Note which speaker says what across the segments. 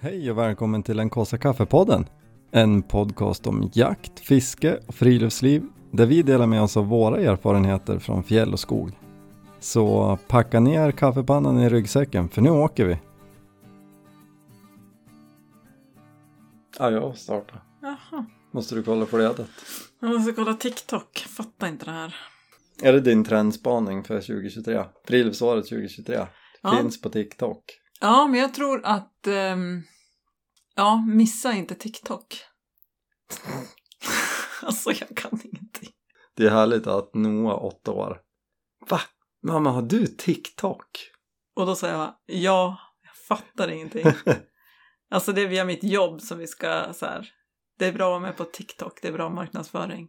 Speaker 1: Hej och välkommen till den kaffe kaffepodden. En podcast om jakt, fiske och friluftsliv där vi delar med oss av våra erfarenheter från fjäll och skog. Så packa ner kaffepannan i ryggsäcken för nu åker vi. Ja, jag startar.
Speaker 2: Jaha.
Speaker 1: Måste du kolla flödet?
Speaker 2: Jag måste kolla TikTok. Fattar inte det här.
Speaker 1: Är det din trendspaning för 2023? Friluftsåret 2023?
Speaker 2: Ja.
Speaker 1: Finns på TikTok.
Speaker 2: Ja, men jag tror att... ehm, ja, missa inte TikTok. alltså, jag kan ingenting.
Speaker 1: Det är härligt att Noah, åtta år. Va? Mamma, har du TikTok?
Speaker 2: Och då säger jag, ja, jag fattar ingenting. alltså, det är via mitt jobb som vi ska så här... Det är bra att vara med på TikTok, det är bra marknadsföring.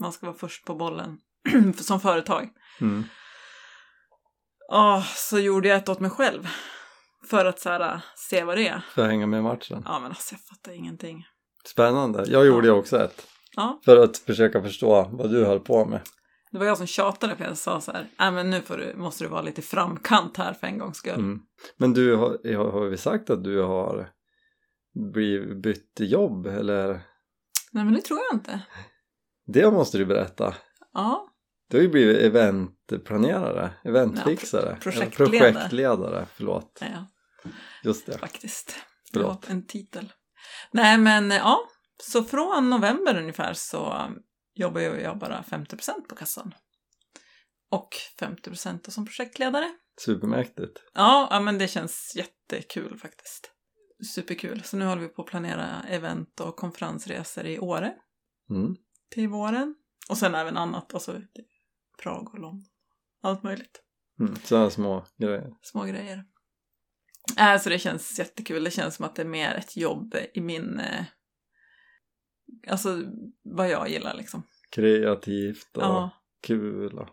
Speaker 2: Man ska vara först på bollen som företag.
Speaker 1: Mm.
Speaker 2: Ja, så gjorde jag ett åt mig själv. För att så här, se vad det är.
Speaker 1: För att hänga med i matchen.
Speaker 2: Ja, men alltså jag fattar ingenting.
Speaker 1: Spännande. Jag gjorde ju också ett.
Speaker 2: Ja,
Speaker 1: För att försöka förstå vad du höll på med.
Speaker 2: Det var jag som tjatade för jag sa så här, nej men nu får du, måste du vara lite i framkant här för en gångs skull.
Speaker 1: Mm. Men du, har, har har vi sagt att du har blivit bytt jobb eller?
Speaker 2: Nej men det tror jag inte.
Speaker 1: Det måste du berätta.
Speaker 2: Ja,
Speaker 1: Du har ju blivit eventplanerare, eventfixare.
Speaker 2: Ja, projektledare.
Speaker 1: Eller projektledare, förlåt.
Speaker 2: nej, ja,
Speaker 1: Just det.
Speaker 2: faktiskt.
Speaker 1: Förlåt.
Speaker 2: Ja, en titel. Nej men eh, ja, så från november ungefär så jobbar jag jag bara 50% på kassan. Och 50% då som projektledare.
Speaker 1: Supermäktigt.
Speaker 2: Ja, ja, men det känns jättekul faktiskt. Superkul. Så nu håller vi på att planera event och konferensresor i Åre.
Speaker 1: Mm.
Speaker 2: till våren. Och sen även annat, alltså Prag och London. Allt möjligt.
Speaker 1: Mm. Sådana små grejer.
Speaker 2: Små grejer. Äh, så det känns jättekul. Det känns som att det är mer ett jobb i min... Eh, alltså vad jag gillar liksom.
Speaker 1: Kreativt och
Speaker 2: Ja,
Speaker 1: kul. Och...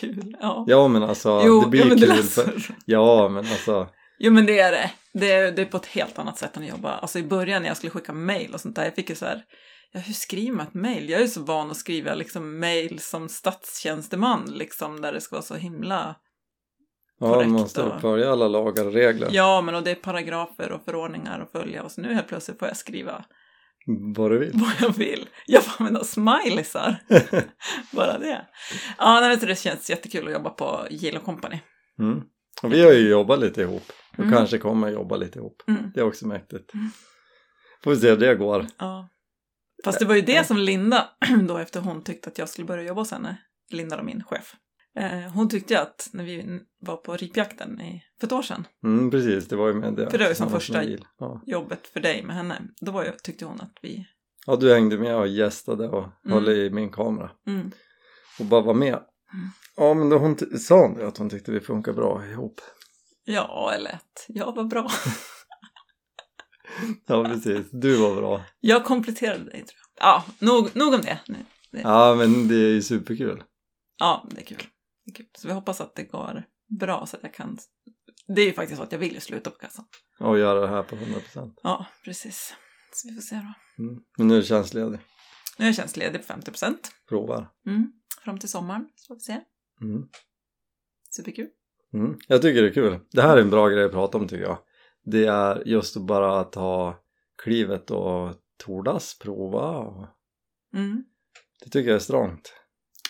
Speaker 2: kul. Ja.
Speaker 1: Ja men alltså, det blir
Speaker 2: ja, men
Speaker 1: kul.
Speaker 2: det
Speaker 1: för...
Speaker 2: läser.
Speaker 1: Ja men alltså,
Speaker 2: Jo men det är det. det. är- Det är på ett helt annat sätt än att jobba. Alltså i början när jag skulle skicka mail och sånt där, jag fick ju så här, ja hur skriver man ett mail? Jag är ju så van att skriva liksom mail som statstjänsteman liksom där det ska vara så himla,
Speaker 1: ja, man
Speaker 2: Korrekt
Speaker 1: måste
Speaker 2: och-
Speaker 1: följa alla lagar och regler.
Speaker 2: ja men och det är paragrafer och förordningar att följa och så nu helt plötsligt får jag skriva
Speaker 1: Vad du vill.
Speaker 2: vad jag vill. Jag får använda smileysar, bara det. Ja, nej, men så det känns jättekul att jobba på Gill Company.
Speaker 1: Mm. Och vi har ju jobbat lite ihop och
Speaker 2: Mm.
Speaker 1: kanske kommer jobba lite ihop.
Speaker 2: Mm.
Speaker 1: Det är också mäktigt. Får vi se hur det går.
Speaker 2: Ja. Fast det var ju det som Linda, då efter hon tyckte att jag skulle börja jobba hos henne, Linda och min chef. Eh, hon tyckte ju att när vi n- var på ripjakten i, för ett år sedan,
Speaker 1: Mm, precis, det var ju med det.
Speaker 2: För det var ju som
Speaker 1: Tillsammans
Speaker 2: första-
Speaker 1: med Jill. Ja.
Speaker 2: jobbet för dig med henne, då var jag, tyckte hon att vi...
Speaker 1: ja, du hängde med och gästade och höll i min kamera
Speaker 2: Mm,
Speaker 1: och bara var med. Ja, men då hon ty- sa hon ju att hon tyckte vi funkar bra ihop.
Speaker 2: ja, eller att jag var bra.
Speaker 1: Ja, precis. Du var bra.
Speaker 2: Jag kompletterade dig, tror jag. Ja, nog, nog om det nu.
Speaker 1: Ja, men det är ju superkul.
Speaker 2: Ja, det är kul. Det är kul. Så vi hoppas att det går bra så att jag kan... Det är ju faktiskt så att jag vill ju sluta på kassan.
Speaker 1: Att göra det här på 100%.
Speaker 2: Ja, precis. Så vi får se då.
Speaker 1: Mm. Men nu är det tjänstledig.
Speaker 2: Nu är jag tjänstledig på 50 procent.
Speaker 1: Provar.
Speaker 2: Mm. Fram till sommaren, så får vi se.
Speaker 1: Mm.
Speaker 2: Superkul.
Speaker 1: Mm. Jag tycker det är kul. Det här är en bra grej att prata om tycker jag. Det är just att bara ta klivet och tordas, prova. Och...
Speaker 2: Mm.
Speaker 1: Det tycker jag är strångt.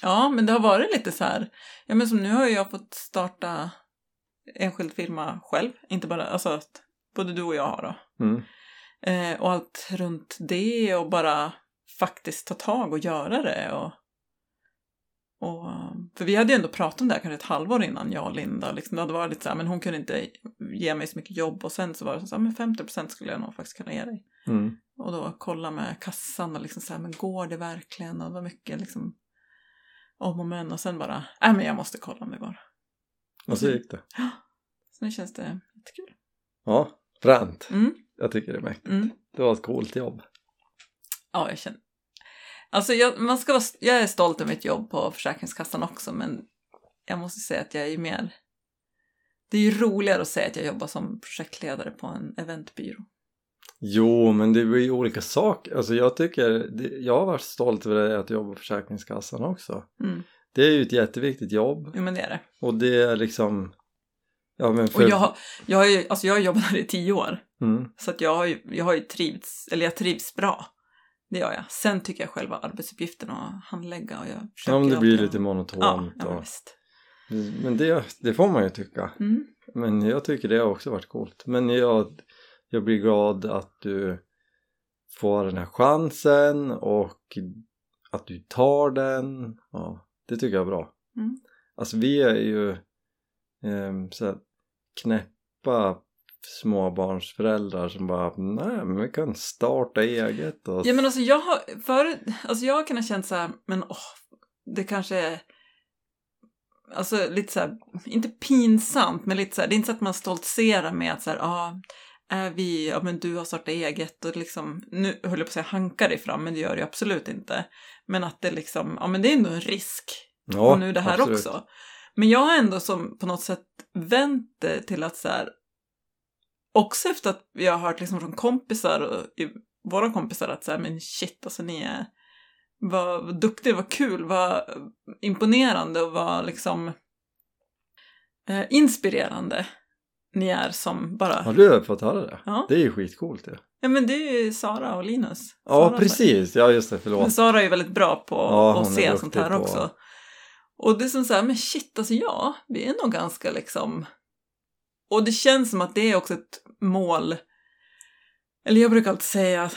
Speaker 2: Ja, men det har varit lite så här. Ja, men som nu har ju jag fått starta enskild firma själv. Inte bara, alltså att både du och jag har då.
Speaker 1: Mm.
Speaker 2: Eh, och allt runt det och bara faktiskt ta tag och göra det. Och, och, för vi hade ju ändå pratat om det här kanske ett halvår innan, jag och Linda. Liksom, det hade varit lite så här, men hon kunde inte ge mig så mycket jobb och sen så var det så här, men 50 procent skulle jag nog faktiskt kunna ge dig.
Speaker 1: Mm.
Speaker 2: Och då kolla med kassan och liksom så här, men går det verkligen? Och det var mycket liksom om och men och sen bara, nej men jag måste kolla om det går.
Speaker 1: Och så gick det.
Speaker 2: Så nu känns det jättekul.
Speaker 1: Ja, fränt.
Speaker 2: Mm,
Speaker 1: Jag tycker det är mäktigt.
Speaker 2: mm.
Speaker 1: Det var ett coolt jobb.
Speaker 2: Ja, jag känner. Alltså jag, man ska vara, jag är stolt över mitt jobb på Försäkringskassan också men jag måste säga att jag är ju mer... Det är ju roligare att säga att jag jobbar som projektledare på en eventbyrå.
Speaker 1: Jo, men det blir ju olika saker. Alltså jag tycker, det, jag har varit stolt över det att jobba på Försäkringskassan också.
Speaker 2: Mm.
Speaker 1: Det är ju ett jätteviktigt jobb
Speaker 2: Jo men det är det.
Speaker 1: och det är liksom... Ja, men för...
Speaker 2: Och jag, har- jag, har ju, alltså jag har jobbat här i tio år
Speaker 1: Mm.
Speaker 2: Så att jag har ju, jag har ju trivts, eller jag trivs bra. Det gör jag. Sen tycker jag själva arbetsuppgiften att handlägga och jag försöker
Speaker 1: Ja, men det blir
Speaker 2: alltid-
Speaker 1: lite monotont.
Speaker 2: ja, ja, men
Speaker 1: och,
Speaker 2: visst.
Speaker 1: men det, det får man ju tycka.
Speaker 2: Mm.
Speaker 1: Men jag tycker det har också varit coolt. Men jag, jag blir glad att du får den här chansen och att du tar den. Ja, det tycker jag är bra.
Speaker 2: Mm.
Speaker 1: Alltså vi är ju eh, så här, knäppa småbarnsföräldrar som bara nej men vi kan starta eget och
Speaker 2: Ja men alltså jag har, förut, alltså jag har kunnat känna så här, men åh, det kanske är, alltså lite så här, inte pinsamt, men lite så här, det är inte så att man stoltserar med att så här, ja, är vi, ja men du har startat eget och liksom, nu höll jag på att säga hankar dig fram, men det gör det ju absolut inte. Men att det liksom, ja men det är ändå en risk
Speaker 1: Ja,
Speaker 2: och nu det här
Speaker 1: absolut.
Speaker 2: också. Men jag har ändå som på något sätt vänt det till att så här, också efter att jag har hört liksom från kompisar, och, i, våra kompisar att så här, men shit alltså ni är, vad, vad duktig, vad kul, vad imponerande och vad liksom eh, inspirerande ni är som bara,
Speaker 1: Har du fått höra det?
Speaker 2: Ja.
Speaker 1: Det är ju skitcoolt det.
Speaker 2: ja men det är ju Sara och Linus. Sara
Speaker 1: Ja
Speaker 2: sa-
Speaker 1: precis, ja just det förlåt.
Speaker 2: men Sara är ju väldigt bra på
Speaker 1: Ja, hon
Speaker 2: att
Speaker 1: är
Speaker 2: se
Speaker 1: duktig
Speaker 2: sånt här
Speaker 1: på-
Speaker 2: också. Och det är som så här, men shit, alltså ja, vi är nog ganska liksom... Och det känns som att det är också ett mål. Eller jag brukar alltid säga, att-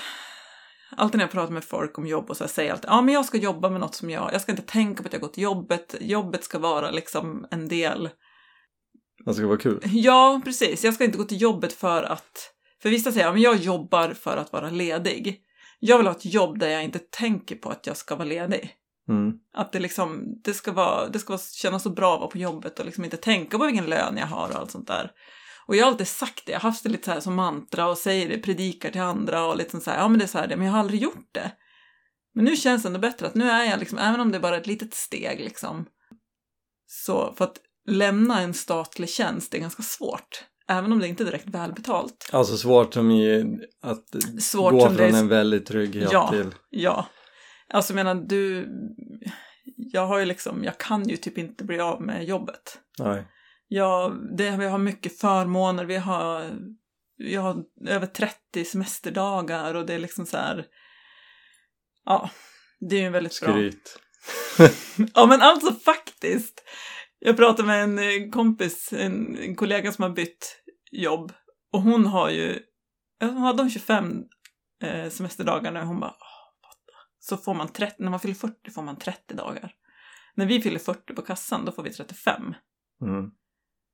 Speaker 2: alltid när jag pratar med folk om jobb och så här, säger jag alltid, ja men jag ska jobba med något som jag, jag ska inte tänka på att jag går till jobbet, jobbet ska vara liksom en del
Speaker 1: Det ska vara kul.
Speaker 2: Ja, precis. Jag ska inte gå till jobbet för att... För vissa säger att jag jobbar för att vara ledig. Jag vill ha ett jobb där jag inte tänker på att jag ska vara ledig.
Speaker 1: Mm.
Speaker 2: Att det, liksom, det ska, vara, det ska vara, kännas så bra att vara på jobbet och liksom inte tänka på vilken lön jag har och allt sånt där. Och jag har alltid sagt det, jag har haft det lite så här som mantra och säger det, predikar till andra och liksom så här, ja men det är så här det, men jag har aldrig gjort det. Men nu känns det ändå bättre att nu är jag liksom, även om det är bara ett litet steg liksom. Så, för att lämna en statlig tjänst är ganska svårt. Även om det inte är direkt välbetalt.
Speaker 1: Alltså svårt som i att
Speaker 2: Svårt
Speaker 1: gå
Speaker 2: som
Speaker 1: från
Speaker 2: det är
Speaker 1: en väldigt trygghet
Speaker 2: Ja.
Speaker 1: till...
Speaker 2: Ja. Alltså jag menar du, jag har ju liksom, jag kan ju typ inte bli av med jobbet.
Speaker 1: Nej.
Speaker 2: Ja, det, vi har mycket förmåner. Vi har, jag har över 30 semesterdagar och det är liksom så här... Ja, det är ju en väldigt bra...
Speaker 1: Skryt.
Speaker 2: Ja, men alltså faktiskt. Jag pratade med en eh, kompis, en, en kollega som har bytt jobb och hon har ju... ja, Hon hade de 25 eh, semesterdagar nu och hon bara... "Åh, fatta." Så får man 30, när man fyller 40 får man 30 dagar. När vi fyller 40 på kassan, då får vi 35.
Speaker 1: Mm.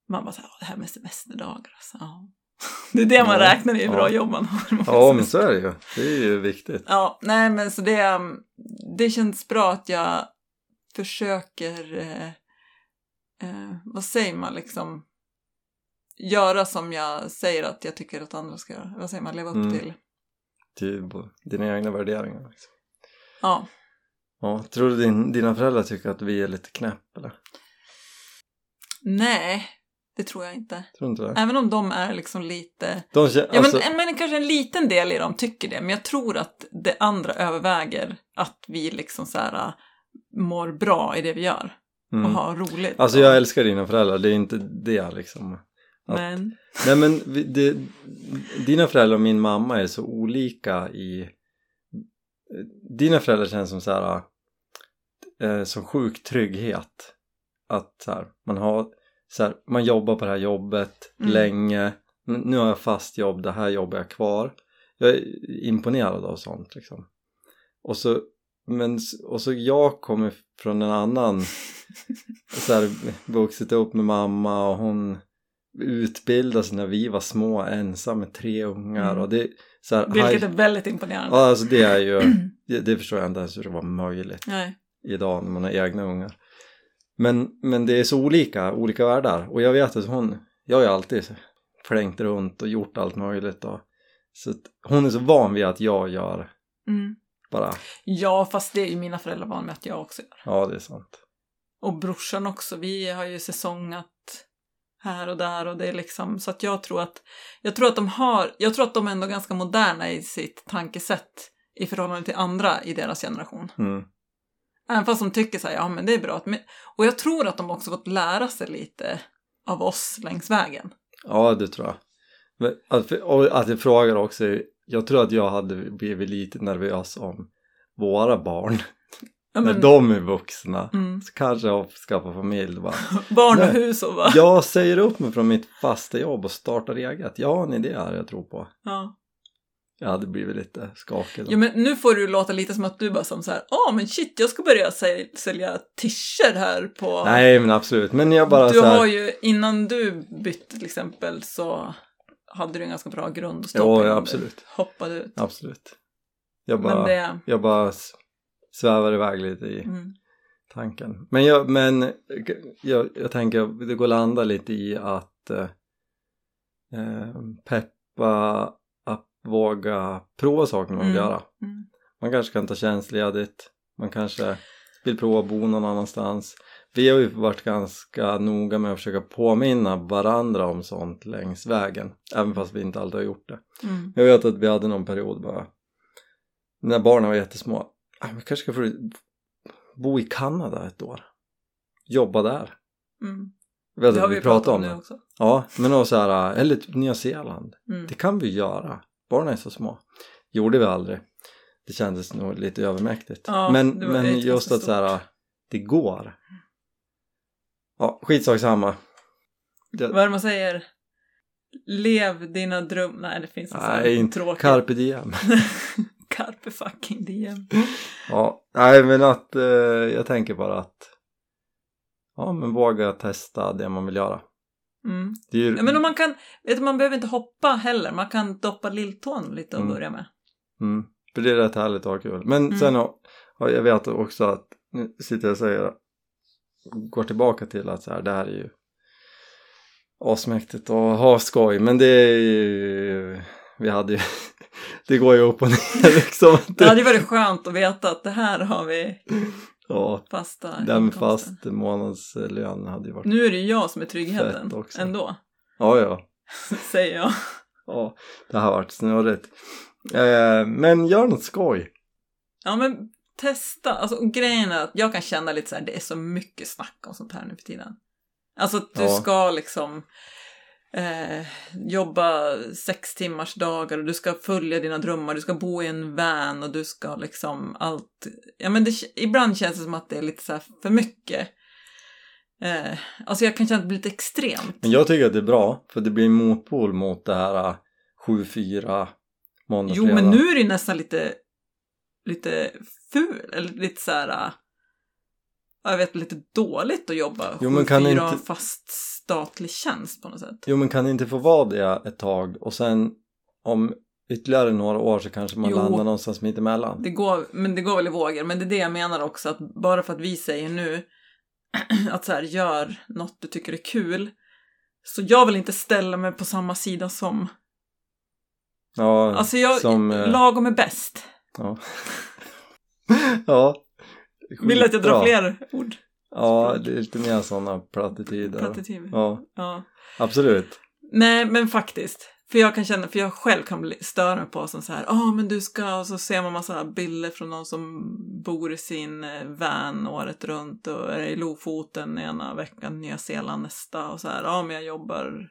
Speaker 2: Man bara såhär, "Åh, det här med semesterdagar alltså. Ja. Det är det man
Speaker 1: Ja,
Speaker 2: räknar i hur bra
Speaker 1: ja.
Speaker 2: jobb man har.
Speaker 1: Ja men så är det ju. Det är ju viktigt.
Speaker 2: Ja, nej men så det, um, det känns bra att jag försöker, eh, eh, vad säger man liksom, göra som jag säger att jag tycker att andra ska göra. Vad säger man, leva upp
Speaker 1: Mm.
Speaker 2: till.
Speaker 1: Till dina egna värderingar. Liksom.
Speaker 2: Ja,
Speaker 1: Ja, tror du din, dina föräldrar tycker att vi är lite knäpp eller?
Speaker 2: nej, det tror jag inte.
Speaker 1: Tror du inte det?
Speaker 2: Även om de är liksom lite,
Speaker 1: De känner,
Speaker 2: Äh, ja
Speaker 1: alltså,
Speaker 2: men, äh, men kanske en liten del i dem tycker det, men jag tror att det andra överväger att vi liksom så här äh, mår bra i det vi gör och
Speaker 1: mm.
Speaker 2: har roligt.
Speaker 1: alltså
Speaker 2: och,
Speaker 1: jag älskar dina föräldrar, det är inte det liksom. att-
Speaker 2: Men,
Speaker 1: Nej men vi- det, dina föräldrar och min mamma är så olika i... Dina föräldrar känns som så här eh, som sjuk trygghet. Att så här, man har så här, man jobbar på det här jobbet
Speaker 2: Mm.
Speaker 1: länge. N- Nu har jag fast jobb, det här jobbar jag kvar. Jag är imponerad av sånt liksom. Och så, men, s- och så jag kommer från en annan så här, vuxit upp med mamma och hon utbildade sig när vi var små ensam med tre ungar
Speaker 2: Mm.
Speaker 1: och det så här,
Speaker 2: vilket
Speaker 1: haj-
Speaker 2: är väldigt imponerande.
Speaker 1: ja, alltså det är ju det, det förstår jag inte ens hur det var möjligt
Speaker 2: Nej.
Speaker 1: idag när man har egna ungar men, men det är så olika, olika världar och jag vet att hon jag har ju alltid flängt runt och gjort allt möjligt och, så att hon är så van vid att jag gör
Speaker 2: Mm.
Speaker 1: bara,
Speaker 2: Ja, fast det är ju mina föräldrar van med att jag också gör.
Speaker 1: ja det är sant
Speaker 2: Och brorsan också. Vi har ju säsongat här och där och det är liksom så att jag tror att jag tror att de har, jag tror att de är ändå ganska moderna i sitt tankesätt i förhållande till andra i deras generation.
Speaker 1: mm.
Speaker 2: Även fast de tycker så här, ja men det är bra. Att, men, och jag tror att de också fått lära sig lite av oss längs vägen.
Speaker 1: ja det tror jag Men att, och att jag frågar också, är- jag tror att jag hade blivit lite nervös om våra barn,
Speaker 2: Ja,
Speaker 1: när
Speaker 2: men,
Speaker 1: de är vuxna,
Speaker 2: mm,
Speaker 1: så kanske jag skaffar familj. Bara,
Speaker 2: barn och
Speaker 1: Nej.
Speaker 2: hus och bara...
Speaker 1: jag säger upp mig från mitt fasta jobb och startar eget. Jag har en idé här jag tror på.
Speaker 2: Ja.
Speaker 1: Jag hade blivit lite skakig. då.
Speaker 2: ja, men nu får du låta lite som att du bara som så här, ja men shit, jag ska börja säl- sälja t-shirts här på...
Speaker 1: Nej men absolut, men jag bara
Speaker 2: du
Speaker 1: så här,
Speaker 2: har ju, innan du bytte till exempel så hade du en ganska bra grund att stå
Speaker 1: Jo,
Speaker 2: på
Speaker 1: ja,
Speaker 2: innan du
Speaker 1: absolut.
Speaker 2: Hoppade ut.
Speaker 1: absolut. Jag bara,
Speaker 2: Men det...
Speaker 1: jag bara s- svävar iväg lite i
Speaker 2: Mm,
Speaker 1: tanken. Men jag, men jag, jag tänker att det går att landa lite i att eh, eh, peppa att våga prova saker man vill
Speaker 2: Mm.
Speaker 1: göra.
Speaker 2: mm.
Speaker 1: Man kanske kan ta tjänstledigt, man kanske vill prova att bo någon annanstans. Vi har ju varit ganska noga med att försöka påminna varandra om sånt längs vägen, även fast vi inte alltid har gjort det.
Speaker 2: Mm.
Speaker 1: Jag vet att vi hade någon period bara när barnen var jättesmå. "Ah, men kanske ska få bo i Kanada ett år. Jobba där.
Speaker 2: Mm.
Speaker 1: Jag vet att vi pratade om det.
Speaker 2: också.
Speaker 1: Ja, men då så här, eller typ Nya Zeeland.
Speaker 2: Mm.
Speaker 1: Det kan vi göra. Barnen är så små. Gjorde vi aldrig. Det kändes nog lite övermäktigt.
Speaker 2: Ja,
Speaker 1: men
Speaker 2: det var- det är
Speaker 1: men
Speaker 2: inte
Speaker 1: just
Speaker 2: ganska
Speaker 1: att så här, det går. Ja, skitsak samma.
Speaker 2: Vad är det man säger? Lev dina drömmar. Nej, det finns en sån
Speaker 1: Nej,
Speaker 2: här
Speaker 1: inte
Speaker 2: tråkig...
Speaker 1: Carpe diem.
Speaker 2: Carpe fucking diem.
Speaker 1: Ja, nej men att eh, jag tänker bara att ja men våga testa det man vill göra.
Speaker 2: Mm.
Speaker 1: Det är ju,
Speaker 2: Ja, men om man kan... Vet du, man behöver inte hoppa heller. Man kan doppa lilltån lite och
Speaker 1: Mm.
Speaker 2: börja med.
Speaker 1: mm, för det är rätt härligt att ha kul. Men
Speaker 2: Mm.
Speaker 1: sen har- ja, jag vet också att nu sitter jag och säger går tillbaka till att så här, det här är ju asmäktigt och ha skoj men det är ju vi hade ju det går ju upp och ner liksom.
Speaker 2: Det hade ju varit skönt att veta att det här har vi
Speaker 1: Ja,
Speaker 2: fasta
Speaker 1: den med
Speaker 2: inkomsten.
Speaker 1: fast månadslön hade ju varit
Speaker 2: Nu är det ju jag som är
Speaker 1: Fett
Speaker 2: tryggheten
Speaker 1: också.
Speaker 2: ändå,
Speaker 1: ja ja
Speaker 2: säger jag.
Speaker 1: Ja, det har varit snurrigt. Eh, men gör något skoj.
Speaker 2: Ja men testa, alltså och grejen är att jag kan känna lite så här, det är så mycket snack om sånt här nu för tiden. Alltså att du
Speaker 1: Ja.
Speaker 2: ska liksom eh, jobba sex timmars dagar och du ska följa dina drömmar, du ska bo i en van och du ska liksom allt. Ja men det, ibland känns det som att det är lite så här för mycket. Eh, alltså jag kan känna att det blir lite extremt.
Speaker 1: Men jag tycker att det är bra, för det blir en motpol mot det här eh, 7-4 måndag
Speaker 2: Jo,
Speaker 1: fredag.
Speaker 2: men nu är det ju nästan lite, lite ful, eller lite så här... äh, Jag vet, lite dåligt att jobba
Speaker 1: Jo, men kan
Speaker 2: 7-4 och
Speaker 1: inte-
Speaker 2: ha en fast statlig tjänst på något sätt.
Speaker 1: Jo, men kan det inte få vara det ett tag och sen om ytterligare några år så kanske man
Speaker 2: Jo.
Speaker 1: landar någonstans mittemellan.
Speaker 2: Det går, men det går väl i vågor, men det är det jag menar också att bara för att vi säger nu att så här, gör något du tycker är kul. Så jag vill inte ställa mig på samma sida som...
Speaker 1: Ja,
Speaker 2: Alltså jag,
Speaker 1: som... eh,
Speaker 2: lagom är bäst.
Speaker 1: ja. ja.
Speaker 2: Vill du att jag drar
Speaker 1: Skitbra.
Speaker 2: fler ord?
Speaker 1: Ja, det är lite mer sådana plattityder.
Speaker 2: Plattityder.
Speaker 1: Ja,
Speaker 2: Ja.
Speaker 1: absolut.
Speaker 2: Nej, men faktiskt. För jag kan känna, för jag själv kan bli, störa mig på som så här, ja men du ska, och så ser man massa bilder från någon som bor i sin eh, van året runt och är i Lofoten ena veckan, Nya Zeeland nästa och så här, ja men jag jobbar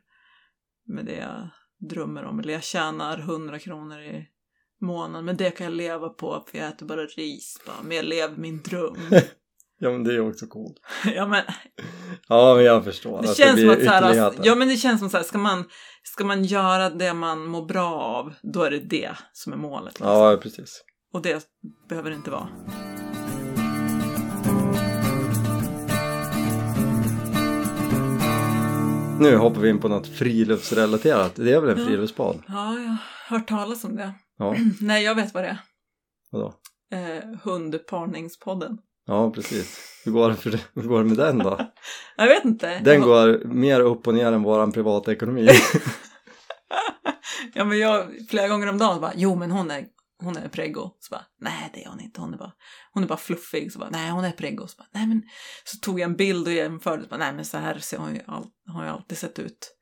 Speaker 2: med det jag drömmer om, eller jag tjänar 100 kronor i månaden, men det kan jag leva på för jag äter bara ris bara, men jag lever min dröm.
Speaker 1: Ja, men det är också coolt.
Speaker 2: ja men
Speaker 1: Ja, men jag förstår.
Speaker 2: Det
Speaker 1: att
Speaker 2: känns som
Speaker 1: blir
Speaker 2: att så här, alltså,
Speaker 1: ytterligheter.
Speaker 2: ja men det känns som så här, ska man, ska man göra det man mår bra av, då är det det som är målet. liksom.
Speaker 1: Ja, precis.
Speaker 2: Och det behöver det inte vara.
Speaker 1: Nu hoppar vi in på något friluftsrelaterat. Det är väl en
Speaker 2: Ja.
Speaker 1: friluftspodd?
Speaker 2: Ja, jag har hört talas om det.
Speaker 1: Ja,
Speaker 2: Nej, jag vet vad det
Speaker 1: vadå?
Speaker 2: är. Eh, hundparningspodden.
Speaker 1: Ja, precis. Hur går det, för, hur går det med den då?
Speaker 2: Jag vet inte.
Speaker 1: Den
Speaker 2: jag,
Speaker 1: går mer upp och ner än våran privatekonomi.
Speaker 2: Ja, men jag flera gånger om dagen bara, jo men hon är, hon är preggo. Så bara, nej det är hon inte, hon är bara, hon är bara fluffig. Så bara, nej hon är preggo. Så bara, nej men, så tog jag en bild och jämförde. Så bara, nej men så här ser hon ju, all, har ju alltid sett ut.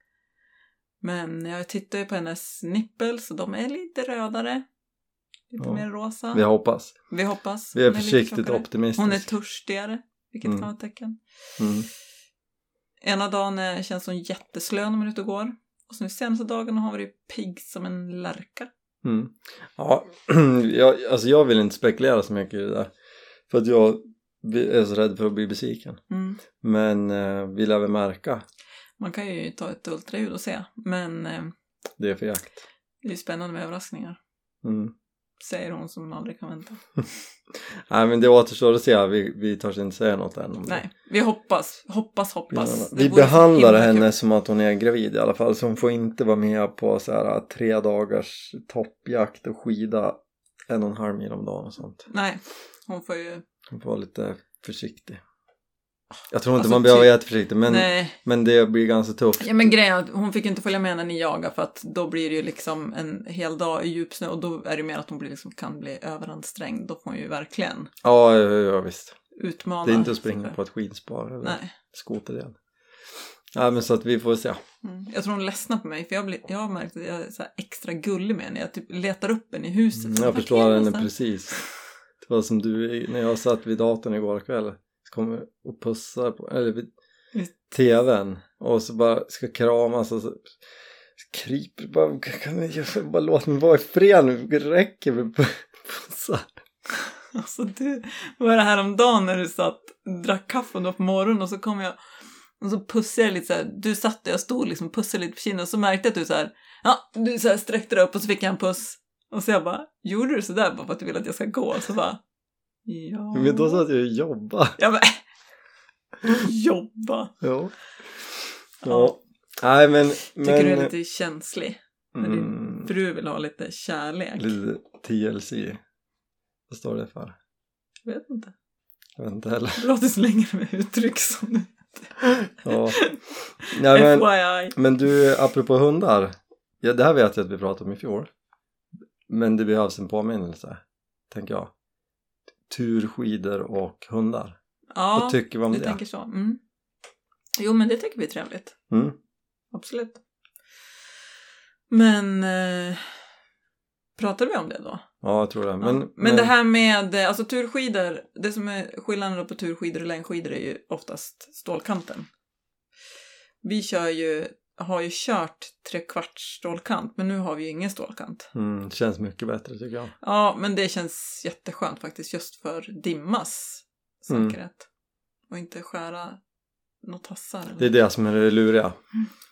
Speaker 2: Men jag tittar ju på hennes nippel så de är lite rödare. Lite
Speaker 1: Ja.
Speaker 2: mer rosa.
Speaker 1: Vi hoppas.
Speaker 2: Vi hoppas.
Speaker 1: Vi är
Speaker 2: hon lite
Speaker 1: försiktigt
Speaker 2: tjockare.
Speaker 1: optimistiska.
Speaker 2: Hon är törstigare, vilket
Speaker 1: Mm.
Speaker 2: kan vara ett tecken.
Speaker 1: mm.
Speaker 2: Ena dagen eh, känns hon jätteslö när man är ute och går. Och så nu senaste dagarna har han varit pigg som en lärka.
Speaker 1: Mm. Ja, jag, alltså jag vill inte spekulera så mycket i det där. För att jag är så rädd för att bli besviken.
Speaker 2: Mm.
Speaker 1: Men eh, vi lär väl märka
Speaker 2: Man kan ju ta ett ultraljud och se, men eh,
Speaker 1: det för jakt.
Speaker 2: det är ju spännande med överraskningar.
Speaker 1: Mm.
Speaker 2: Säger hon som aldrig kan vänta.
Speaker 1: Nej men det återstår att se, vi, vi törs inte säga något än om det.
Speaker 2: Nej, vi hoppas, hoppas, hoppas.
Speaker 1: Vi
Speaker 2: Det vore så
Speaker 1: behandlar
Speaker 2: himla
Speaker 1: henne
Speaker 2: kul.
Speaker 1: som att hon är gravid i alla fall så hon får inte vara med på så här äh, tre dagars toppjakt och skida en och en halv mil om dagen och sånt.
Speaker 2: Nej, hon får ju...
Speaker 1: Hon får vara lite försiktig. Jag tror inte
Speaker 2: Alltså,
Speaker 1: man behöver
Speaker 2: typ-
Speaker 1: vara jätteförsiktig men,
Speaker 2: Nej.
Speaker 1: men det blir ganska tufft.
Speaker 2: Ja men grejen är att hon fick inte följa med när ni jagade för att då blir det ju liksom en hel dag i djupsnö och då är det mer att hon blir liksom, kan bli överansträngd. Då får hon ju verkligen
Speaker 1: Ja, ja, ja visst.
Speaker 2: utmana.
Speaker 1: Det är inte att springa
Speaker 2: sig
Speaker 1: på ett skidspår eller
Speaker 2: Nej.
Speaker 1: skoterled. Nej men så att vi får se.
Speaker 2: Mm. Jag tror hon ledsnar på mig för jag, blir, jag har märkt att jag är så här extra gullig med henne. Jag typ letar upp henne i huset.
Speaker 1: Mm,
Speaker 2: Så,
Speaker 1: jag
Speaker 2: "Vart
Speaker 1: förstår
Speaker 2: är hon
Speaker 1: henne
Speaker 2: någonstans?"
Speaker 1: precis. Det var som du, när jag satt vid datorn igår kväll, så kom jag och pussade på, eller vid
Speaker 2: Just.
Speaker 1: tvn och så bara ska kramas och så kryper bara, kan ni göra- bara låt mig vara i fred nu, det räcker med pu- pussar.
Speaker 2: Alltså du, var det häromdagen när du satt, drack kaffe då på morgonen och så kom jag och så pussade jag lite så här. Du satt där jag stod liksom och pussade lite på kinden och så märkte jag att du så här, ja, du så här sträckte dig upp och så fick jag en puss. Och så jag bara, gjorde du sådär bara för att du vill att jag ska gå? Och så bara, ja.
Speaker 1: Men då satt jag och jobbade.
Speaker 2: Jag bara, jobba.
Speaker 1: Ja. ja.
Speaker 2: Ja.
Speaker 1: Nej men, men
Speaker 2: Tycker du är lite känslig? när din
Speaker 1: mm,
Speaker 2: Fru vill ha lite kärlek.
Speaker 1: lite TLC. Vad står det för?
Speaker 2: Jag vet inte.
Speaker 1: Jag vet inte heller.
Speaker 2: Det låter så länge med uttryck som nu.
Speaker 1: Ja. Nej, men,
Speaker 2: FYI.
Speaker 1: Men du, apropå hundar. Ja, det här vet jag att vi pratade om i fjol. Men det behövs en påminnelse, tänker jag. Turskidor och hundar.
Speaker 2: Ja.
Speaker 1: Vad tycker vi om
Speaker 2: Du
Speaker 1: det?
Speaker 2: tänker så? Mm. Jo, men det tycker vi är trevligt.
Speaker 1: Mm.
Speaker 2: Absolut. Men eh, pratade vi om det då?
Speaker 1: Ja, jag tror det. Men,
Speaker 2: ja. men, det här med eh, alltså turskidor, det som är skillnaden då på turskidor och längdskidor är ju oftast stålkanten. Vi kör ju, har ju kört trekvarts stålkant, men nu har vi ju ingen stålkant.
Speaker 1: Mm, det känns mycket bättre tycker jag.
Speaker 2: Ja, men det känns jätteskönt faktiskt just för dimmas
Speaker 1: Mm.
Speaker 2: säkerhet. Och inte skära något tassar. eller
Speaker 1: Det är det som är det luriga.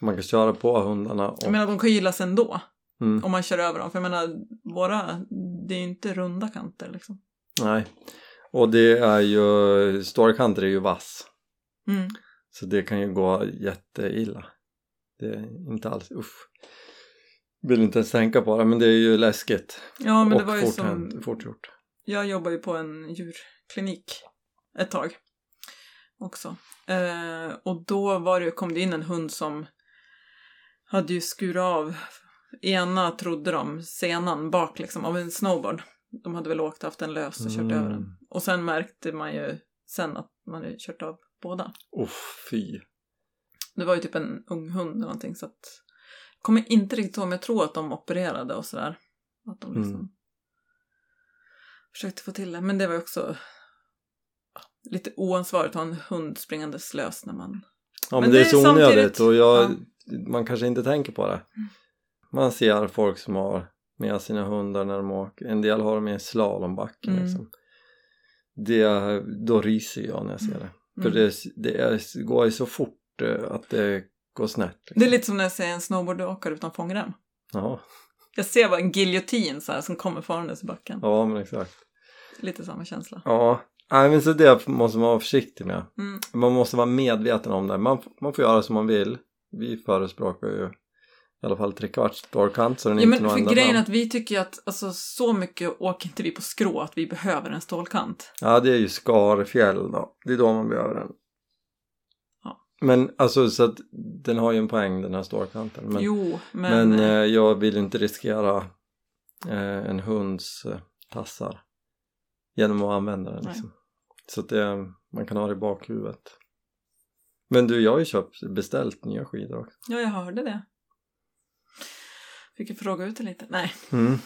Speaker 1: Man kan köra på hundarna och...
Speaker 2: Jag menar, de kan ju gillas ändå
Speaker 1: Mm,
Speaker 2: om man kör över dem. För jag menar, våra, det är ju inte runda kanter liksom.
Speaker 1: nej. Och det är ju... Stålkanter är ju vass.
Speaker 2: Mm.
Speaker 1: Så det kan ju gå jätteilla. Det är inte alls... Usch. Vill inte ens tänka på det, men det är ju läskigt.
Speaker 2: Ja, men
Speaker 1: och
Speaker 2: det var ju
Speaker 1: fort,
Speaker 2: som...
Speaker 1: hänt- fort gjort.
Speaker 2: Jag jobbar ju på en djurklinik ett tag också. Eh, och då var det, kom det in en hund som hade ju skurit av ena, trodde de, senan bak liksom av en snowboard. De hade väl åkt, haft den lös och kört
Speaker 1: Mm.
Speaker 2: över den. Och sen märkte man ju sen att man hade kört av båda.
Speaker 1: Uff, fy.
Speaker 2: Det var ju typ en ung hund eller någonting så att... Jag kommer inte riktigt ihåg, men jag tror att de opererade och sådär. Att de liksom
Speaker 1: Mm.
Speaker 2: försökte få till det. Men det var ju också ja, lite oansvarigt att ha en hund springande slös när man...
Speaker 1: Ja men,
Speaker 2: Men
Speaker 1: det är
Speaker 2: det är
Speaker 1: så onödigt
Speaker 2: samtidigt- Mm.
Speaker 1: och jag, man kanske inte tänker på det. Man ser folk som har med sina hundar när de åker. En del har dem i slalombacken
Speaker 2: Mm.
Speaker 1: liksom. Det, då ryser jag när jag ser det. För
Speaker 2: Mm.
Speaker 1: det, det är, går ju så fort eh, att det går snett. Liksom.
Speaker 2: Det är lite som när jag ser en snowboardåkare utan fångrem.
Speaker 1: ja,
Speaker 2: Jag ser bara en giljotin så här som kommer farandes i backen.
Speaker 1: ja men exakt.
Speaker 2: Lite samma känsla.
Speaker 1: Ja, nej, men så det måste man vara försiktig med.
Speaker 2: Mm.
Speaker 1: Man måste vara medveten om det. Man, man får göra som man vill. Vi förespråkar ju i alla fall trekvarts dårkant så den
Speaker 2: Ja,
Speaker 1: inte
Speaker 2: men
Speaker 1: når
Speaker 2: för
Speaker 1: ända
Speaker 2: grejen
Speaker 1: fram.
Speaker 2: är att vi tycker ju att alltså, så mycket åker inte vi på skrå att vi behöver en stålkant.
Speaker 1: Ja, det är ju Skarfjäll då. Det är då man behöver den.
Speaker 2: Ja.
Speaker 1: Men alltså så att den har ju en poäng den här stålkanten. Men,
Speaker 2: jo, men...
Speaker 1: men, eh, jag vill inte riskera eh, en hunds eh, tassar genom att använda den
Speaker 2: Nej.
Speaker 1: liksom. Så att det, man kan ha det i bakhuvudet. Men du, jag har ju köpt, beställt nya skidor också.
Speaker 2: Ja, jag hörde det. Fick ju fråga ut det lite. Nej,
Speaker 1: Mm.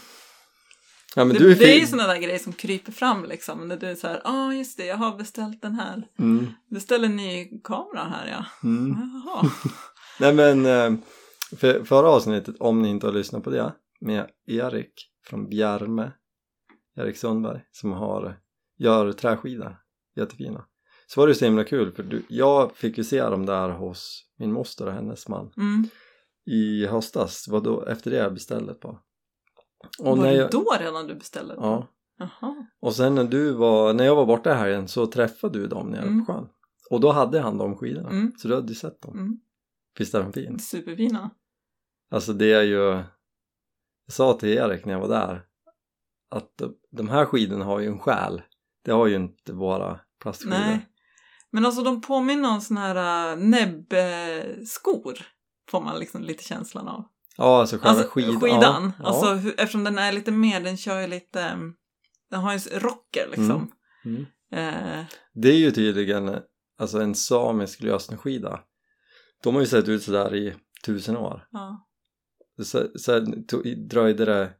Speaker 1: Ja, men
Speaker 2: det,
Speaker 1: du är
Speaker 2: det är
Speaker 1: fin.
Speaker 2: ju sådana där grejer som kryper fram liksom. När du är så här, ja just det, jag har beställt den här.
Speaker 1: Mm.
Speaker 2: Beställ en ny kamera här ja.
Speaker 1: Mm.
Speaker 2: Jaha.
Speaker 1: Nej men, eh, För, förra avsnittet, om ni inte har lyssnat på det, med Erik från Bjärme, Erik Sundberg, som har, gör träskidor, jättefina. Så var det ju så himla kul, för du, jag fick ju se dem där hos min moster och hennes man
Speaker 2: Mm.
Speaker 1: i höstas, vad då, efter det jag beställde på.
Speaker 2: Och
Speaker 1: Och
Speaker 2: var
Speaker 1: när
Speaker 2: det
Speaker 1: jag,
Speaker 2: då redan du beställde? den?
Speaker 1: ja,
Speaker 2: Jaha.
Speaker 1: och sen när du var, när jag var borta här igen så träffade du dem nere
Speaker 2: Mm.
Speaker 1: på sjön. Och då hade han de skidorna,
Speaker 2: Mm.
Speaker 1: så du hade ju sett dem.
Speaker 2: Mm.
Speaker 1: Visst är de fin?
Speaker 2: Superfina.
Speaker 1: Alltså det är ju... Jag sa till Erik när jag var där att de- de här skidorna har ju en själ. Det har ju inte våra plastskidor.
Speaker 2: Nej. Men alltså de påminner om såna här äh, näbbskor. Får man liksom lite känslan av.
Speaker 1: Ja, alltså själva
Speaker 2: Alltså
Speaker 1: skid-
Speaker 2: skidan.
Speaker 1: Ja,
Speaker 2: Alltså
Speaker 1: ja.
Speaker 2: hur, eftersom den är lite mer, den kör ju lite, mm, den har ju s- rocker liksom.
Speaker 1: Mm.
Speaker 2: Eh,
Speaker 1: Det är ju tydligen alltså en samisk lösenskida. De har ju sett ut sådär i tusen år.
Speaker 2: ja.
Speaker 1: Sen, sen to, dröjde det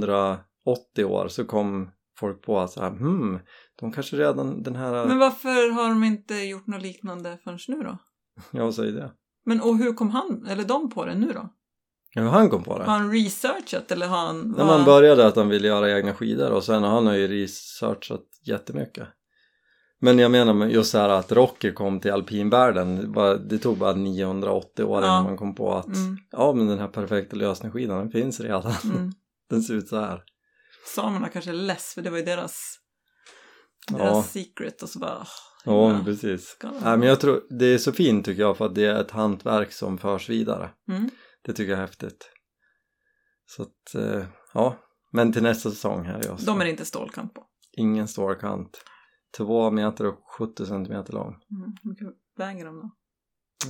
Speaker 1: 980 år så kom folk på att så här, hmm, de kanske redan den här...
Speaker 2: Men varför har de inte gjort något liknande förrän nu då?
Speaker 1: Jag säger det.
Speaker 2: Men och hur kom han, eller de på det nu då?
Speaker 1: Ja, han kom på det.
Speaker 2: Har han researchat eller har han...
Speaker 1: När
Speaker 2: var-
Speaker 1: man började att han ville göra egna skidor och sen han har ju researchat jättemycket. Men jag menar med just så här att Rocky kom till alpinvärlden, det bara- det tog bara 980 år
Speaker 2: Ja.
Speaker 1: innan man kom på att
Speaker 2: Mm,
Speaker 1: ja men den här perfekta lösningsskidan den finns redan,
Speaker 2: mm.
Speaker 1: den ser ut så här.
Speaker 2: Samerna kanske är less för det var ju deras,
Speaker 1: Ja.
Speaker 2: deras secret och så bara... åh,
Speaker 1: Ja,
Speaker 2: himla
Speaker 1: precis.
Speaker 2: skam.
Speaker 1: Nej, men jag tror, det är så fint tycker jag för att det är ett hantverk som förs vidare.
Speaker 2: Mm.
Speaker 1: Det tycker jag är häftigt. Så att, eh, ja. Men till nästa säsong här är jag.
Speaker 2: De är det inte stålkamp på.
Speaker 1: Ingen stålkant. Två meter och 70 centimeter lång.
Speaker 2: Mm. Hur mycket väger de då?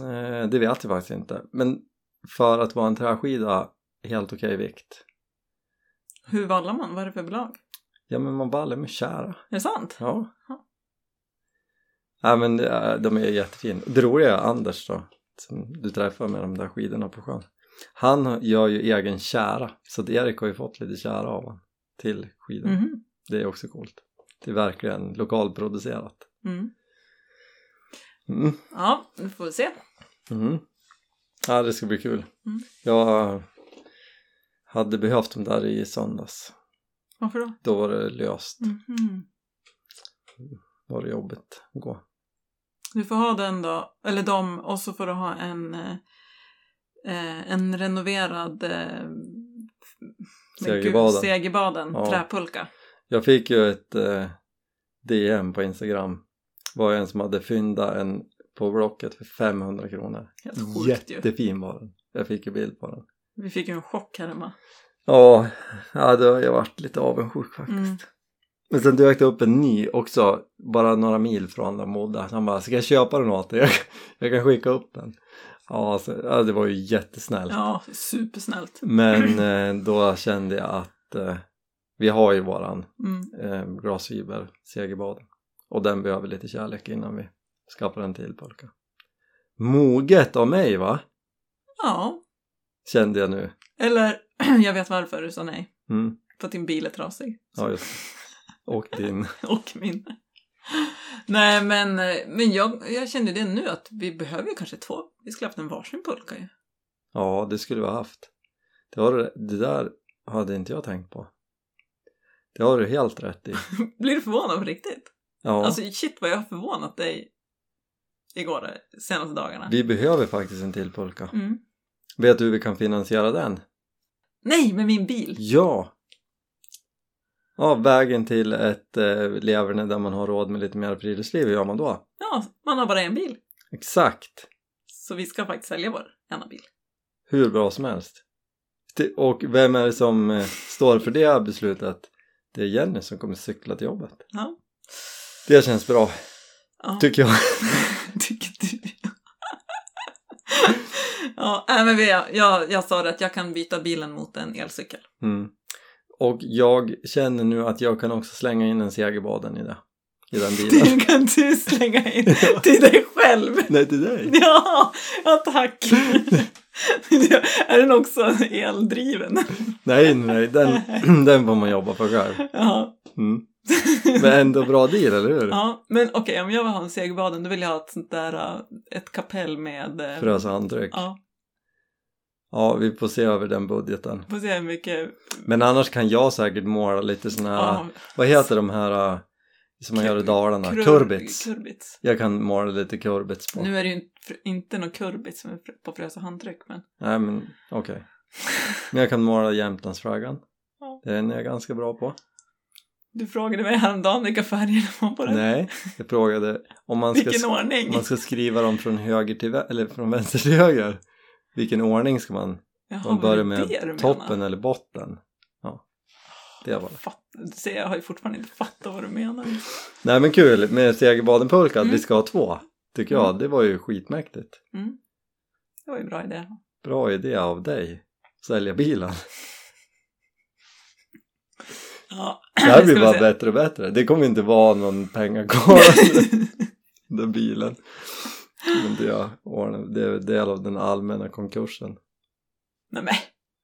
Speaker 1: Eh, det vet jag faktiskt inte. Men för att vara en träskida, helt okej vikt.
Speaker 2: Hur vallar man? Vad är det för belag?
Speaker 1: Ja men man vallar med kära.
Speaker 2: Är det sant?
Speaker 1: Ja.
Speaker 2: Ja.
Speaker 1: Ja men det är- de är jättefina. Det roliga är Anders då, som du träffar med de där skidorna på sjön. Han har- gör ju egen kära, så att Erik har ju fått lite kära av honom till skidorna.
Speaker 2: Mhm.
Speaker 1: Det är också coolt. Det är verkligen lokalproducerat.
Speaker 2: Mm.
Speaker 1: Mm.
Speaker 2: Ja, nu får vi se.
Speaker 1: Mm. Ja, det ska bli kul.
Speaker 2: Mm.
Speaker 1: Jag hade behövt dem där i söndags.
Speaker 2: Varför då?
Speaker 1: Då var det löst.
Speaker 2: Mhm.
Speaker 1: Var det jobbigt att gå.
Speaker 2: Du får ha den då, eller dem, och så får du ha en, eh, eh, en renoverad eh, men gud,
Speaker 1: Segerbaden.
Speaker 2: segerbaden
Speaker 1: Ja.
Speaker 2: träpulka.
Speaker 1: Jag fick ju ett eh, DM på Instagram. Det var en som hade fyndat en på Blocket för 500 kronor.
Speaker 2: Helt Alltså, sjukt ju.
Speaker 1: Jättefin var den. Jag fick ju bild på den.
Speaker 2: Vi fick ju en chock här hemma.
Speaker 1: Ja, ja då har jag varit lite avundsjuk faktiskt.
Speaker 2: Mm.
Speaker 1: Men sen dök det upp en ny också, bara några mil från där Modda. Han bara, ska jag köpa den åt dig? Jag, jag kan skicka upp den. Ja, så, ja, det var ju jättesnällt.
Speaker 2: Ja, supersnällt.
Speaker 1: Men eh, då kände jag att eh, vi har ju våran
Speaker 2: Mm.
Speaker 1: eh, glasfiber segerbad och den behöver lite kärlek innan vi skaffar en till pulka. Moget av mig va?
Speaker 2: Ja,
Speaker 1: Kände jag nu.
Speaker 2: eller jag vet varför du sa nej.
Speaker 1: Mm.
Speaker 2: För att din bil är trasig.
Speaker 1: Ja, just det. Och din.
Speaker 2: och min. Nej, men, eh, men jag, jag kände det nu att vi behöver ju kanske två. Vi skulle haft en varsin pulka ju.
Speaker 1: Ja, det skulle vi ha haft. Det, har, du- det där hade inte jag tänkt på. Det har du helt rätt i.
Speaker 2: Blir du förvånad på riktigt?
Speaker 1: Ja,
Speaker 2: Alltså shit vad jag har förvånat dig igår, eh, senaste dagarna.
Speaker 1: vi behöver faktiskt en till pulka.
Speaker 2: Mm.
Speaker 1: Vet du hur vi kan finansiera den?
Speaker 2: Nej, med min bil!
Speaker 1: Ja! Ja, vägen till ett eh, leverne där man har råd med lite mer friluftsliv, hur gör man då?
Speaker 2: Ja, man har bara en bil.
Speaker 1: Exakt!
Speaker 2: Så vi ska faktiskt sälja vår ena bil.
Speaker 1: Hur bra som helst. Det- Och vem är det som eh, står för det här beslutet? Det är Jenny som kommer cykla till jobbet.
Speaker 2: Ja.
Speaker 1: Det känns bra,
Speaker 2: Ja.
Speaker 1: tycker jag.
Speaker 2: Tycker du? ja, nej, men vi, jag, jag sa det att jag kan byta bilen mot en elcykel.
Speaker 1: Mm. Och jag känner nu att jag kan också slänga in en segerbaden i det. I den bilen.
Speaker 2: Det kan du slänga in till dig själv.
Speaker 1: Nej, till dig!
Speaker 2: Ja, ja tack. är den också eldriven?
Speaker 1: Nej, nej, den, den får man jobba för själv.
Speaker 2: Ja.
Speaker 1: Mm. Men ändå bra deal, eller hur?
Speaker 2: ja men okej, om jag vill ha en segerbaden då vill jag ha ett sånt där, äh, ett kapell med... äh,
Speaker 1: Frösa handdryck.
Speaker 2: Ja.
Speaker 1: Ja, vi får se över den budgeten.
Speaker 2: Får se hur mycket...
Speaker 1: Men annars kan jag säkert måla lite såna här,
Speaker 2: Ja,
Speaker 1: vad heter de här äh, som man
Speaker 2: Kur-
Speaker 1: gör i Dalarna?
Speaker 2: kurb-
Speaker 1: kurbits.
Speaker 2: kurbits.
Speaker 1: Jag kan måla lite kurbits på.
Speaker 2: Nu är det ju inte, inte någon kurbits som är fr- på Frösö handtryck men...
Speaker 1: Nej men okej. Men jag kan måla Jämtlandsflaggan.
Speaker 2: Ja.
Speaker 1: Den är jag ganska bra på.
Speaker 2: Du frågade mig häromdagen vilka färger det var på den.
Speaker 1: Nej, jag frågade om man ska,
Speaker 2: Vilken ordning!
Speaker 1: om man ska skriva dem från höger till vä- eller från vänster till höger. Vilken ordning ska man?
Speaker 2: Jaha,
Speaker 1: Man
Speaker 2: var
Speaker 1: börjar
Speaker 2: det
Speaker 1: med
Speaker 2: det du
Speaker 1: toppen
Speaker 2: menar?
Speaker 1: eller botten. Ja, det var det.
Speaker 2: Fatt, du ser, jag har ju fortfarande inte fattat vad du menar.
Speaker 1: Nej men kul med Segerbadenpulka att
Speaker 2: Mm.
Speaker 1: vi ska ha två. Tycker jag, det var ju skitmäktigt.
Speaker 2: Det var ju en bra idé.
Speaker 1: Bra idé av dig. Sälja bilen.
Speaker 2: Ja,
Speaker 1: Det här
Speaker 2: vi
Speaker 1: blir
Speaker 2: ska
Speaker 1: bara
Speaker 2: se.
Speaker 1: bättre och bättre. Det kommer inte vara någon pengar kvar. den där bilen. Men det, ordnar- det är del av den allmänna konkursen.
Speaker 2: Nej men,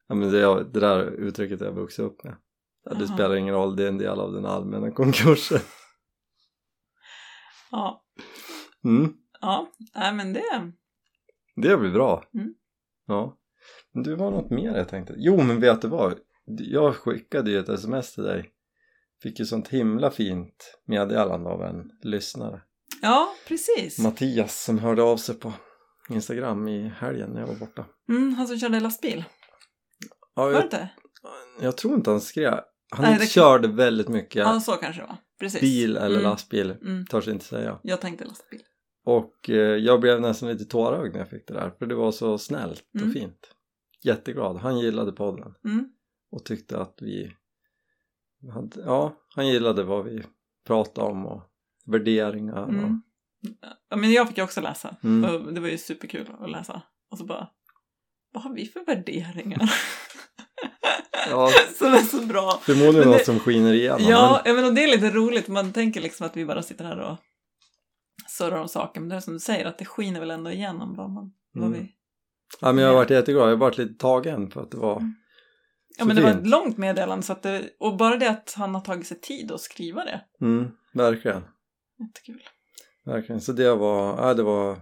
Speaker 1: Ja, men det, är- det där uttrycket har jag vuxit upp med. Ja, det
Speaker 2: Jaha.
Speaker 1: spelar ingen roll, det är en del av den allmänna konkursen.
Speaker 2: ja,
Speaker 1: Mm,
Speaker 2: ja, nej men det.
Speaker 1: det blir bra.
Speaker 2: Mm.
Speaker 1: Ja. Men du var något mer jag tänkte. Jo, men vet du vad? Jag skickade ju ett sms till dig. Fick ju sånt himla fint meddelande av en lyssnare.
Speaker 2: Ja, precis.
Speaker 1: Mattias som hörde av sig på Instagram i helgen när jag var borta.
Speaker 2: Mm, han som körde lastbil,
Speaker 1: Ja,
Speaker 2: var
Speaker 1: jag
Speaker 2: det inte?
Speaker 1: Jag tror inte han skrev. Han
Speaker 2: Nej, det-
Speaker 1: körde väldigt mycket
Speaker 2: Ja, så kanske det var. Precis.
Speaker 1: bil eller
Speaker 2: Mm,
Speaker 1: lastbil.
Speaker 2: Mm,
Speaker 1: Törs inte säga.
Speaker 2: jag tänkte lastbil.
Speaker 1: Och eh, jag blev nästan lite tårögd när jag fick det där. För det var så snällt och
Speaker 2: Mm.
Speaker 1: fint. Jätteglad. Han gillade podden.
Speaker 2: Mm.
Speaker 1: Och tyckte att vi... hade- Ja, han gillade vad vi pratade om och värderingar och...
Speaker 2: Mm. Ja, men jag fick ju också läsa.
Speaker 1: Mm.
Speaker 2: Och Det var ju superkul att läsa. Och så bara, vad har vi för värderingar?
Speaker 1: Ja,
Speaker 2: Som är så bra.
Speaker 1: förmodligen
Speaker 2: Men det-
Speaker 1: något som skiner igenom.
Speaker 2: Ja, jag menar, det är lite roligt. Man tänker liksom att vi bara sitter här och surrar om saker. Men det är som du säger, att det skiner väl ändå igenom vad man... Vad
Speaker 1: Mm.
Speaker 2: vi...
Speaker 1: ja, men jag har varit jätteglad. Jag har varit lite tagen för att det var...
Speaker 2: Ja,
Speaker 1: Så
Speaker 2: men det var ett
Speaker 1: fint.
Speaker 2: långt meddelande. Så att det... Och bara det att han har tagit sig tid att skriva det.
Speaker 1: Mm, verkligen.
Speaker 2: Jättekul.
Speaker 1: Verkligen. Så det var... Ja, det var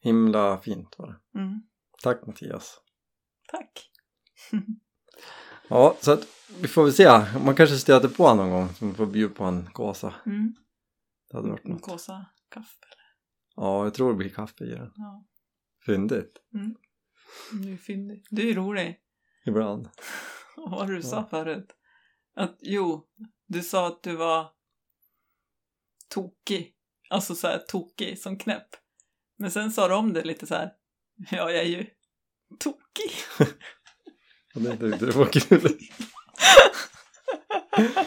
Speaker 1: himla fint var det.
Speaker 2: Mm.
Speaker 1: Tack Mattias.
Speaker 2: Tack.
Speaker 1: Ja, så att vi får väl se. Man kanske stöter på honom någon gång så man får bjuda på en kåsa.
Speaker 2: Mm.
Speaker 1: Det hade varit något.
Speaker 2: Kåsa kaffe.
Speaker 1: Ja, jag tror det blir kaffe i den.
Speaker 2: Ja.
Speaker 1: Fyndigt.
Speaker 2: Du är fyndig. Du är rolig.
Speaker 1: Ibland.
Speaker 2: Och vad du sa
Speaker 1: Ja.
Speaker 2: förut. Att, jo, du sa att du var tokig. Alltså så här tokig som knäpp. Men sen sa du om det lite så här. Ja, jag är ju tokig.
Speaker 1: Och det tyckte det var kul.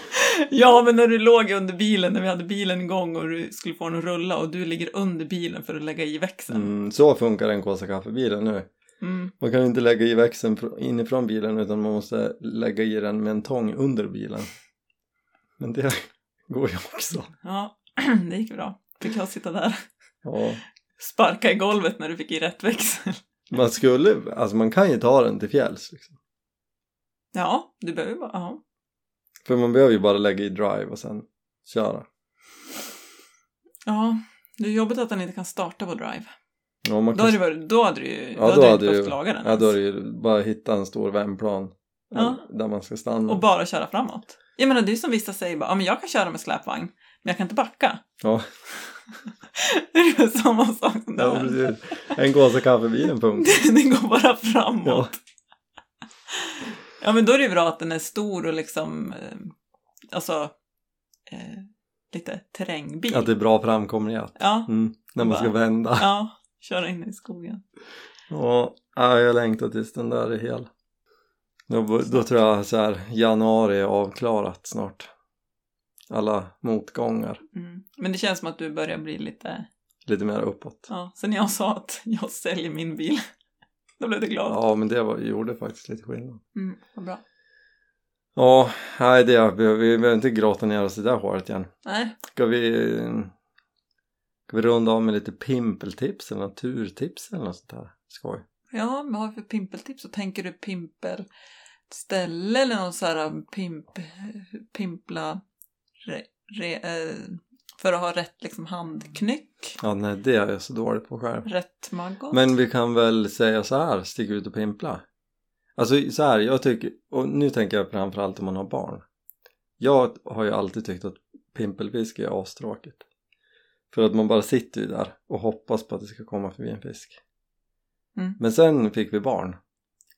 Speaker 2: ja, men när du låg under bilen, när vi hade bilen igång och du skulle få den att rulla och du ligger under bilen för att lägga i växeln. Mm.
Speaker 1: Mm, så funkar en kåsa kaffebilen nu. Man kan ju inte lägga i växeln fr- inifrån bilen utan man måste lägga i den med en tång under bilen. Men det går ju också.
Speaker 2: Ja, det gick bra. Fick jag sitta där
Speaker 1: Ja.
Speaker 2: sparka i golvet när du fick i rätt växel.
Speaker 1: Man skulle, alltså man kan ju ta den till fjälls. Liksom.
Speaker 2: Ja, du behöver bara, ja.
Speaker 1: För man behöver ju bara lägga i drive och sen köra.
Speaker 2: Ja, det är jobbigt att den inte kan starta på drive.
Speaker 1: Ja, man
Speaker 2: Då
Speaker 1: kan
Speaker 2: hade, det varit, då hade du ju
Speaker 1: Ja, då
Speaker 2: då hade du
Speaker 1: hade
Speaker 2: inte
Speaker 1: du-
Speaker 2: behövt laga den
Speaker 1: Ja, då är det
Speaker 2: ens.
Speaker 1: ju bara hitta en stor vändplan
Speaker 2: Ja.
Speaker 1: där man ska stanna.
Speaker 2: Och bara köra framåt. Jag menar, det är ju som vissa säger bara, ja men jag kan köra med släpvagn, men jag kan inte backa.
Speaker 1: Ja.
Speaker 2: det är ju samma sak som det
Speaker 1: ja,
Speaker 2: här.
Speaker 1: precis. En gåsa kaffebilen punkt.
Speaker 2: Det, det går bara framåt.
Speaker 1: Ja.
Speaker 2: Ja. men då är det ju bra att den är stor och liksom, eh, alltså, eh, lite terrängbil.
Speaker 1: Att det är bra framkomlighet.
Speaker 2: Ja,
Speaker 1: Mm, när man ska
Speaker 2: Bara-
Speaker 1: vända.
Speaker 2: ja, köra in i skogen.
Speaker 1: Ja, ja, jag längtar tills den där är hel. Då, då tror jag så här, januari är avklarat snart. Alla motgångar.
Speaker 2: Mm. Men det känns som att du börjar bli lite
Speaker 1: Lite mer uppåt.
Speaker 2: Ja, sen jag sa att jag säljer min bil, då blev du glad.
Speaker 1: Ja, men det var, gjorde faktiskt lite skillnad.
Speaker 2: Mm, vad bra.
Speaker 1: Ja, nej, det, vi behöver inte gråta ner oss i det där håret igen.
Speaker 2: Nej,
Speaker 1: Ska vi, ska vi runda av med lite pimpeltips eller naturtips eller något sånt där? Skoj.
Speaker 2: ja, vad har vi för pimpeltips? Så tänker du pimpelställe eller någon så här um, pimp, pimpla re, re, eh, för att ha rätt liksom handknyck,
Speaker 1: Ja, nej, det är jag så dålig på själv.
Speaker 2: rätt maggot?
Speaker 1: Men vi kan väl säga så här, stick ut och pimpla. Alltså så här, jag tycker, och nu tänker jag framförallt om man har barn. Jag har ju alltid tyckt att pimpelfiske är astråkigt. För att man bara sitter ju där och hoppas på att det ska komma förbi en fisk.
Speaker 2: Mm.
Speaker 1: Men sen fick vi barn.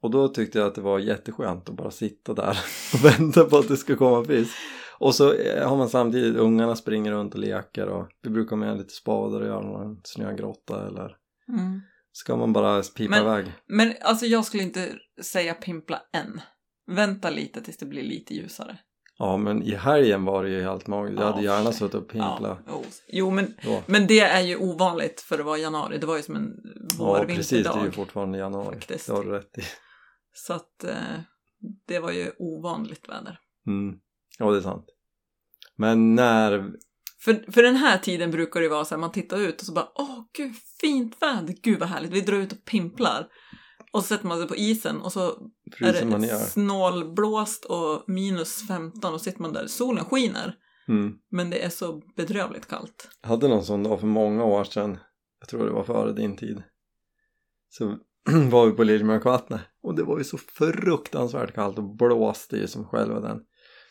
Speaker 1: Och då tyckte jag att det var jätteskönt att bara sitta där och vänta på att det ska komma fisk. Och så eh, har man samtidigt, ungarna springer runt och leker och vi brukar med lite spadar och göra någon snögrotta eller
Speaker 2: Mm.
Speaker 1: ska man bara pipa
Speaker 2: Men-
Speaker 1: iväg.
Speaker 2: Men alltså jag skulle inte säga pimpla än. Vänta lite tills det blir lite ljusare.
Speaker 1: Ja men i helgen var det ju helt magiskt. Jag hade
Speaker 2: Ja,
Speaker 1: gärna
Speaker 2: shit.
Speaker 1: suttit och pimplat
Speaker 2: Ja, jo. jo, men,
Speaker 1: då.
Speaker 2: men det är ju ovanligt för att vara januari. Det var ju som en
Speaker 1: Ja precis, det är ju
Speaker 2: vårvinterdag.
Speaker 1: fortfarande januari.
Speaker 2: faktiskt.
Speaker 1: Det har du rätt i.
Speaker 2: så att eh, det var ju ovanligt väder.
Speaker 1: Mm. Ja det är sant. Men när,
Speaker 2: För, för den här tiden brukar det ju vara så här, man tittar ut och så bara åh gud fint väder, gud vad härligt, vi drar ut och pimplar. Och så sätter man sig på isen och så är
Speaker 1: fryser man
Speaker 2: det
Speaker 1: ner.
Speaker 2: snålblåst och minus 15 och sitter man där, solen skiner.
Speaker 1: Mm.
Speaker 2: Men det är så bedrövligt kallt.
Speaker 1: Jag hade någon sån dag för många år sedan jag tror det var före din tid så var vi på Liljemarkvattnet och det var ju så fruktansvärt kallt och blåste ju som själva den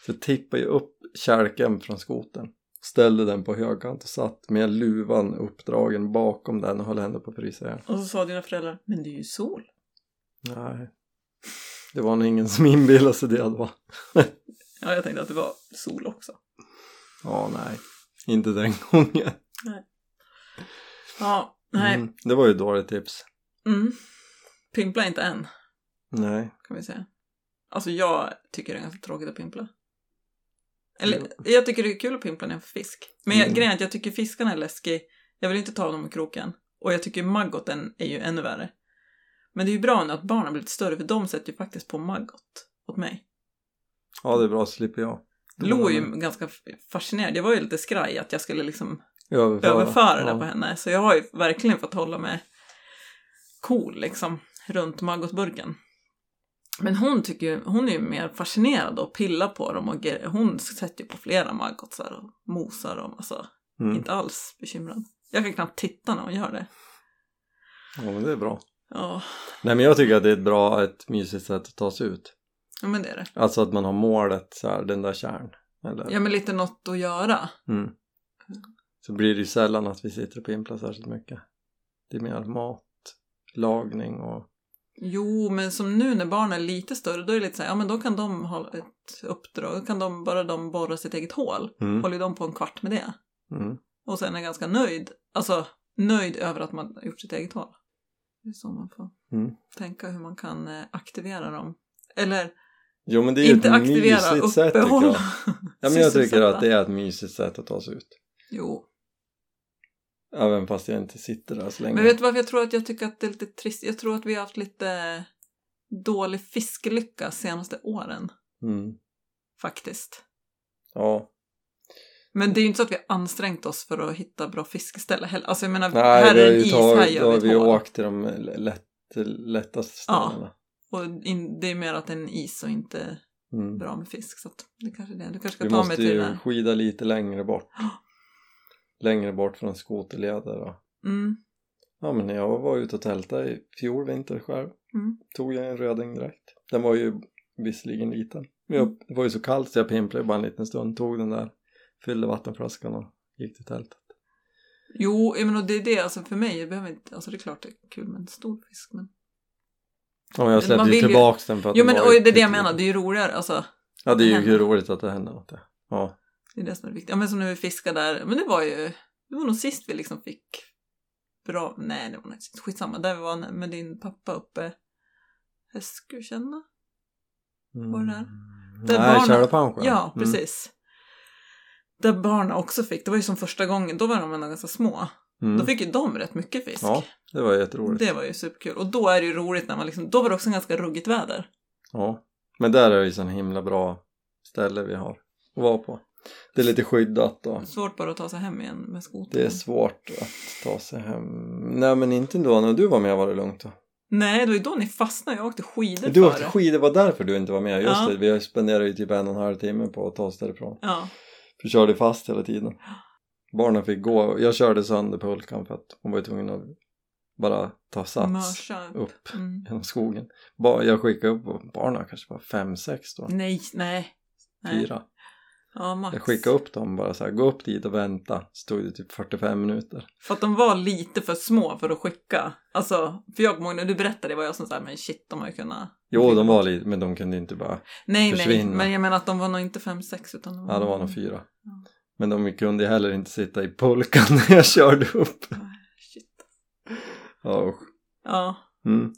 Speaker 1: så jag tippade ju upp kälken från skoten ställde den på högkant och satt med luvan uppdragen bakom den och höll henne på att frysa ihjäl.
Speaker 2: Och så sa dina föräldrar, men det är ju sol.
Speaker 1: Nej, det var nog ingen som inbillade sig det då.
Speaker 2: Ja, jag tänkte att det var sol också.
Speaker 1: Ja, nej, inte den gången.
Speaker 2: Ja, nej. Mm.
Speaker 1: Mm, det var ju ett dåligt tips.
Speaker 2: Pimpla inte än,
Speaker 1: Nej,
Speaker 2: kan vi säga. Alltså jag tycker det är ganska tråkigt att pimpla. Eller
Speaker 1: Mm.
Speaker 2: jag tycker det är kul att pimpla när jag får fisk. Men jag,
Speaker 1: Mm.
Speaker 2: grejen är att jag tycker fiskarna är läskig. Jag vill inte ta dem i kroken. Och jag tycker maggoten är ju ännu värre. Men det är ju bra nu att barnen har blivit större för de sätter ju faktiskt på maggot åt mig.
Speaker 1: ja det är bra, slipper jag.
Speaker 2: Lo är ju ganska f- fascinerad. Jag var ju lite skraj att jag skulle liksom
Speaker 1: överföra,
Speaker 2: överföra det
Speaker 1: Ja.
Speaker 2: på henne. Så jag har ju verkligen fått hålla mig cool liksom runt maggotburken. Men hon tycker ju, hon är ju mer fascinerad och pillar på dem och gre- hon sätter ju på flera maggotsar och mosar dem. Alltså
Speaker 1: Mm.
Speaker 2: inte alls bekymrad. Jag kan knappt titta när hon gör det.
Speaker 1: Ja men det är bra.
Speaker 2: Ja,
Speaker 1: Nej men jag tycker att det är ett bra, ett mysigt sätt att ta sig ut.
Speaker 2: ja, men det är det.
Speaker 1: Alltså att man har målet så här, den där kärn. Eller,
Speaker 2: Ja men lite något att göra.
Speaker 1: mm. Så blir det ju sällan att vi sitter och pimplar särskilt mycket. Det är mer mat, lagning och
Speaker 2: Jo, men som nu när barnen är lite större, då är det lite så här, ja men då kan de ha ett uppdrag, då kan de, bara de borra sitt eget hål.
Speaker 1: mm.
Speaker 2: Håller de på en kvart med det.
Speaker 1: Mm.
Speaker 2: Och sen är ganska nöjd. Alltså nöjd över att man har gjort sitt eget val. Det är så man får
Speaker 1: Mm.
Speaker 2: tänka hur man kan eh, aktivera dem. Eller
Speaker 1: Jo men det är ju
Speaker 2: inte
Speaker 1: ett
Speaker 2: aktivera,
Speaker 1: mysigt sätt tycker jag.
Speaker 2: uppehålla.
Speaker 1: Ja men jag tycker
Speaker 2: sysselsätta.
Speaker 1: att det är ett mysigt sätt att ta sig ut.
Speaker 2: Jo,
Speaker 1: Även fast jag inte sitter där så länge.
Speaker 2: men vet du varför jag tror att jag tycker att det är lite trist? Jag tror att vi har haft lite dålig fiskelycka senaste åren
Speaker 1: mm.
Speaker 2: faktiskt.
Speaker 1: Ja,
Speaker 2: Men det är ju inte så att vi har ansträngt oss för att hitta bra fiskeställe heller. Alltså jag menar,
Speaker 1: nej
Speaker 2: här
Speaker 1: vi har
Speaker 2: är en
Speaker 1: ju
Speaker 2: is, här
Speaker 1: tagit, då har
Speaker 2: gör vi
Speaker 1: vi
Speaker 2: ett hål.
Speaker 1: åkt till de lätt, lättaste
Speaker 2: Ja.
Speaker 1: ställena.
Speaker 2: Och in, det är mer att det är en is och inte
Speaker 1: Mm.
Speaker 2: bra med fisk. Så att det kanske är det. Du kanske ska
Speaker 1: Vi
Speaker 2: ta mig
Speaker 1: måste
Speaker 2: till
Speaker 1: ju
Speaker 2: det där.
Speaker 1: skida lite längre bort.
Speaker 2: Ja.
Speaker 1: Längre bort från skoterleder. och-
Speaker 2: Mm.
Speaker 1: Ja men när jag var ute och tältade i fjol vinter själv
Speaker 2: Mm.
Speaker 1: tog jag en röding direkt. Den var ju visserligen liten. Men
Speaker 2: Mm.
Speaker 1: jag, det var ju så kallt så jag pimplade bara en liten stund. Tog den där, fyllde vattenflaskan och gick till tältet.
Speaker 2: Jo, jag menar, det är det, alltså för mig, jag behöver inte, alltså det är klart det är kul med en stor fisk, men...
Speaker 1: Ja, men jag släppte
Speaker 2: man
Speaker 1: ju
Speaker 2: vill ju-
Speaker 1: tillbaks den för att
Speaker 2: Jo,
Speaker 1: den
Speaker 2: men
Speaker 1: var
Speaker 2: och
Speaker 1: ju typ-
Speaker 2: det är det jag
Speaker 1: pytteliten.
Speaker 2: menar, det är ju roligare, alltså,
Speaker 1: Ja det är ju
Speaker 2: händer.
Speaker 1: roligt att det händer något. ja. Ja.
Speaker 2: det är det som är viktigt. Ja, men som när vi fiskade där, men det var ju, det var nog sist vi liksom fick bra, nej det var nog inte sist, skitsamma, där vi var med din pappa uppe, Hästkutjärna?
Speaker 1: Mm.
Speaker 2: Var det där? Där
Speaker 1: Nej,
Speaker 2: barnen-
Speaker 1: Tjärnöpanschen.
Speaker 2: Ja, precis. Där barnen också fick, det var ju som första gången, då var de ändå ganska små.
Speaker 1: Mm. Mm.
Speaker 2: Då fick ju de rätt mycket fisk.
Speaker 1: Ja, det var jätteroligt.
Speaker 2: Det var ju superkul. Och då är det ju roligt när man liksom, då var det också ganska ruggigt väder.
Speaker 1: Ja, men där är det ju så en himla bra ställe vi har att vara på. Det är lite skyddat då.
Speaker 2: Svårt bara att ta sig hem igen med skotern.
Speaker 1: Det är svårt att ta sig hem. Nej men inte då när du var med var det lugnt då.
Speaker 2: Nej, det var ju då ni fastnade. Jag åkte skidor
Speaker 1: Du
Speaker 2: före.
Speaker 1: åkte skidor, det var därför du inte var med. Just
Speaker 2: Ja.
Speaker 1: det, vi spenderade ju typ en och en halv timme på att ta oss därifrån.
Speaker 2: Ja.
Speaker 1: För körde fast hela tiden. Barnen fick gå. Jag körde sönder pulkan för att hon var ju tvungen att bara ta sats
Speaker 2: Mörsa.
Speaker 1: upp
Speaker 2: Mm.
Speaker 1: genom skogen. Bara, jag skickade upp barnen, kanske var fem, sex då,
Speaker 2: Nej, nej. nej.
Speaker 1: fyra.
Speaker 2: Ja, max.
Speaker 1: Jag skickade upp dem bara så här, gå upp dit och vänta. Så tog det typ 45 minuter.
Speaker 2: För att de var lite för små för att skicka. Alltså, för jag kommer ihåg när du berättade det var jag som sa men shit, de har ju kunnat...
Speaker 1: Jo, de var lite, men de kunde inte bara,
Speaker 2: Nej, nej,
Speaker 1: Försvinna.
Speaker 2: men jag menar att de var nog inte fem sex utan de
Speaker 1: ja det var nog fyra.
Speaker 2: Mm. Ja.
Speaker 1: Men de kunde ju heller inte sitta i pulkan när jag körde upp.
Speaker 2: Shit.
Speaker 1: Ja, usch.
Speaker 2: Ja.
Speaker 1: mm.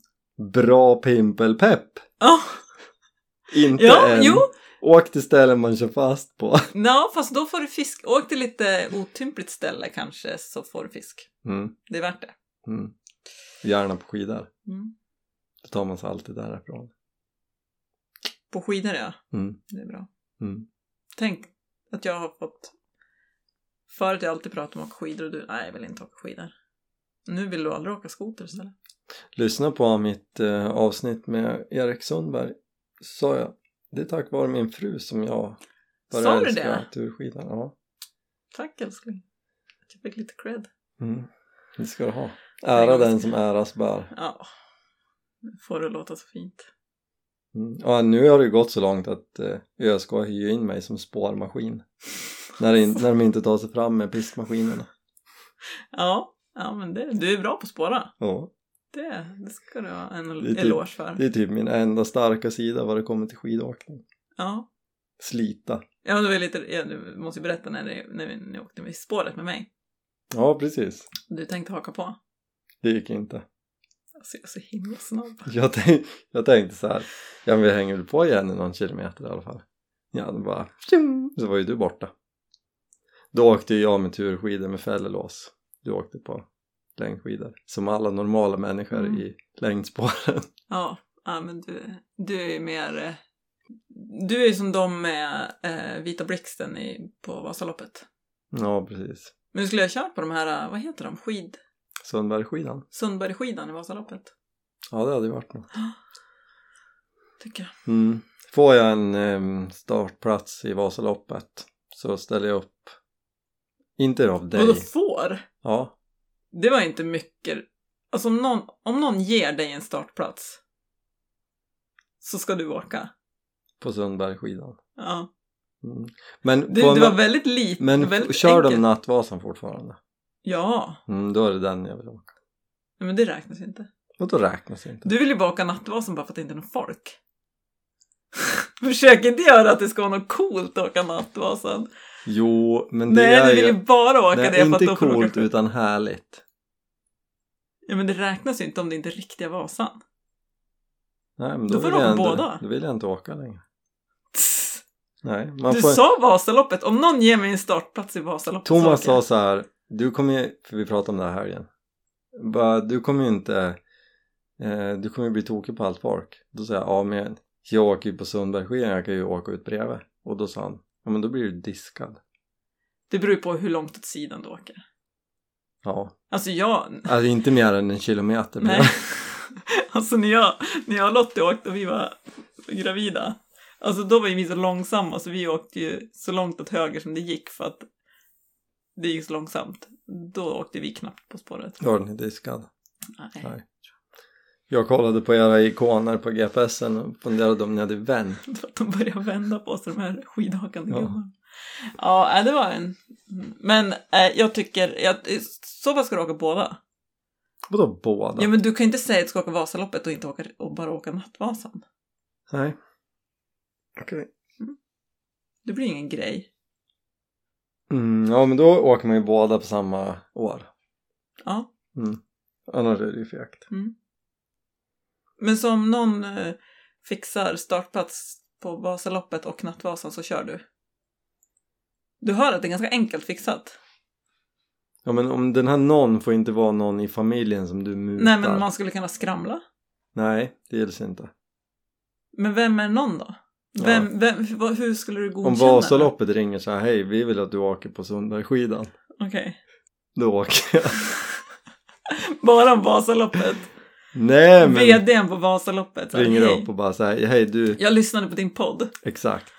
Speaker 1: Bra pimpelpepp!
Speaker 2: Ja,
Speaker 1: Inte
Speaker 2: ja
Speaker 1: än.
Speaker 2: jo.
Speaker 1: Åk till ställen man kör fast på.
Speaker 2: Ja, fast då får du fisk. Åk till lite otympligt ställe kanske så får du fisk.
Speaker 1: Mm.
Speaker 2: Det är värt det.
Speaker 1: Mm. Gärna på skidor.
Speaker 2: Mm.
Speaker 1: Då tar man sig alltid därifrån.
Speaker 2: På skidor ja,
Speaker 1: Mm.
Speaker 2: det är bra.
Speaker 1: Mm.
Speaker 2: Tänk att jag har fått... Förut har jag alltid pratat om att åka skidor och du, nej jag vill inte åka skidor. Nu vill du aldrig åka skoter istället.
Speaker 1: Lyssna på mitt eh, avsnitt med Erik Sundberg. Sa jag. Det är tack vare min fru som jag
Speaker 2: Sa du
Speaker 1: älska
Speaker 2: det?
Speaker 1: turskidan. Ja.
Speaker 2: Tack älskling. Att Jag fick lite cred.
Speaker 1: Mm. Det ska du ha.
Speaker 2: Tänk
Speaker 1: Ära
Speaker 2: om vi
Speaker 1: den
Speaker 2: ska-
Speaker 1: som äras bär.
Speaker 2: Ja. Nu får det låta så fint.
Speaker 1: Mm. Ja, nu har det ju gått så långt att eh, ÖSK hyr in mig som spårmaskin. när, in, när de inte tar sig fram med pistmaskinerna.
Speaker 2: Ja, ja men det, du är bra på att spåra.
Speaker 1: Ja.
Speaker 2: Det, det ska du ha en
Speaker 1: Det är typ-
Speaker 2: eloge för.
Speaker 1: Det är typ min enda starka sida vad det kommer till skidåkning.
Speaker 2: Ja.
Speaker 1: Slita.
Speaker 2: Ja, men det var lite, ja, du måste ju berätta när, det, när vi när ni åkte med spåret med mig.
Speaker 1: Ja, precis.
Speaker 2: Du tänkte haka på.
Speaker 1: Det gick inte.
Speaker 2: Alltså jag är så himla snabb.
Speaker 1: Jag, tänk, jag tänkte så här, ja men vi hänger väl på igen i någon kilometer i alla fall. Ja, då bara tjing, så var ju du borta. Då åkte ju jag med turskidor med fällelås. Du åkte på längdskidor. Som alla normala människor
Speaker 2: Mm.
Speaker 1: i längdspåren.
Speaker 2: Ja, ja men du, du är ju mer... eh, Du är ju som de med eh, Vita Blixten i, på Vasaloppet.
Speaker 1: Ja, precis.
Speaker 2: Men du skulle ha kört på de här, eh, vad heter de, skid...
Speaker 1: Sundbergsskidan.
Speaker 2: Sundbergsskidan i Vasaloppet.
Speaker 1: Ja, det hade ju varit något.
Speaker 2: Tycker jag.
Speaker 1: Mm. Får jag en em, startplats i Vasaloppet så ställer jag upp. Inte av dig.
Speaker 2: Vadå får?
Speaker 1: Ja,
Speaker 2: Det var inte mycket. Alltså om någon, om någon ger dig en startplats så ska du åka.
Speaker 1: på Sundbergsskidan.
Speaker 2: Ja.
Speaker 1: Mm. Men
Speaker 2: Du,
Speaker 1: på
Speaker 2: det
Speaker 1: en-
Speaker 2: var väldigt lite,
Speaker 1: Men
Speaker 2: väldigt
Speaker 1: kör de
Speaker 2: enkelt.
Speaker 1: nattvasan fortfarande?
Speaker 2: Ja,
Speaker 1: Mm, då är det den jag vill åka.
Speaker 2: nej, men det räknas ju inte.
Speaker 1: Och då räknas inte.
Speaker 2: Du vill ju bara åka nattvasen bara för att det inte är någon folk. Försök inte göra att det ska vara något coolt att åka nattvasan.
Speaker 1: Jo, men det
Speaker 2: Nej,
Speaker 1: är
Speaker 2: du vill ju
Speaker 1: ju...
Speaker 2: bara åka
Speaker 1: Det
Speaker 2: det,
Speaker 1: är
Speaker 2: för att
Speaker 1: inte
Speaker 2: då får du
Speaker 1: coolt
Speaker 2: åka
Speaker 1: utan härligt.
Speaker 2: Ja, men det räknas ju inte om det inte är riktiga Vasan.
Speaker 1: Nej, men
Speaker 2: Då
Speaker 1: då,
Speaker 2: får
Speaker 1: vill
Speaker 2: du åka
Speaker 1: jag inte,
Speaker 2: båda.
Speaker 1: Då vill jag inte åka längre.
Speaker 2: Tss!
Speaker 1: Nej, man
Speaker 2: du
Speaker 1: får...
Speaker 2: sa Vasaloppet, om någon ger mig en startplats i Vasaloppet
Speaker 1: Thomas
Speaker 2: så åker
Speaker 1: sa
Speaker 2: jag.
Speaker 1: så här, du kommer ju... För vi pratade om det här helgen. Bara, du kommer ju inte... Eh, du kommer ju bli tokig på allt folk. Då sa jag, ja men jag åker ju på Sundbergsskidan, jag kan ju åka ut bredvid. Och då sa han, ja men då blir du diskad.
Speaker 2: Det beror ju på hur långt åt sidan du åker.
Speaker 1: Ja,
Speaker 2: Alltså jag...
Speaker 1: alltså inte mer än en kilometer.
Speaker 2: Nej. Alltså när jag, när jag och Lottie åkte och vi var gravida, alltså då var ju vi så långsamma så vi åkte ju så långt åt höger som det gick för att det gick så långsamt. Då åkte vi knappt på spåret.
Speaker 1: Då är den diskad.
Speaker 2: Nej.
Speaker 1: Nej. Jag kollade på era ikoner på GPSen och funderade om ni hade vänt.
Speaker 2: För att de började vända på sig, de här skidhakande
Speaker 1: Ja.
Speaker 2: gubbarna. Ja, äh, det var en... Men äh, jag tycker, jag, så vad ska du åka båda?
Speaker 1: Vadå båda?
Speaker 2: Ja, men du kan inte säga att du ska åka Vasaloppet och inte åka, och bara åka Nattvasan.
Speaker 1: Nej. Okej.
Speaker 2: Det blir ingen grej.
Speaker 1: Mm, ja men då åker man ju båda på samma år. Mm.
Speaker 2: Ja.
Speaker 1: Annars är det ju fegt.
Speaker 2: Men så om någon eh, fixar startplats på Vasaloppet och Nattvasan så kör du. Du hör att det är ganska enkelt fixat.
Speaker 1: Ja men om den här någon får inte vara någon i familjen som du mutar.
Speaker 2: Nej, men man skulle kunna skramla.
Speaker 1: Nej, det gills inte.
Speaker 2: Men vem är någon då?
Speaker 1: Ja.
Speaker 2: Vem, vem, vad- hur skulle du
Speaker 1: Om
Speaker 2: godkänna? det?
Speaker 1: Vasaloppet ringer så här, hej vi vill att du åker på Sundbergsskidan.
Speaker 2: Okej.
Speaker 1: Då åker jag.
Speaker 2: Bara om Vasaloppet.
Speaker 1: Nej men
Speaker 2: VDn på Vasaloppet. så här,
Speaker 1: ringer
Speaker 2: "Hej,
Speaker 1: upp och bara så här, hej du,
Speaker 2: Jag lyssnade på din podd.
Speaker 1: Exakt.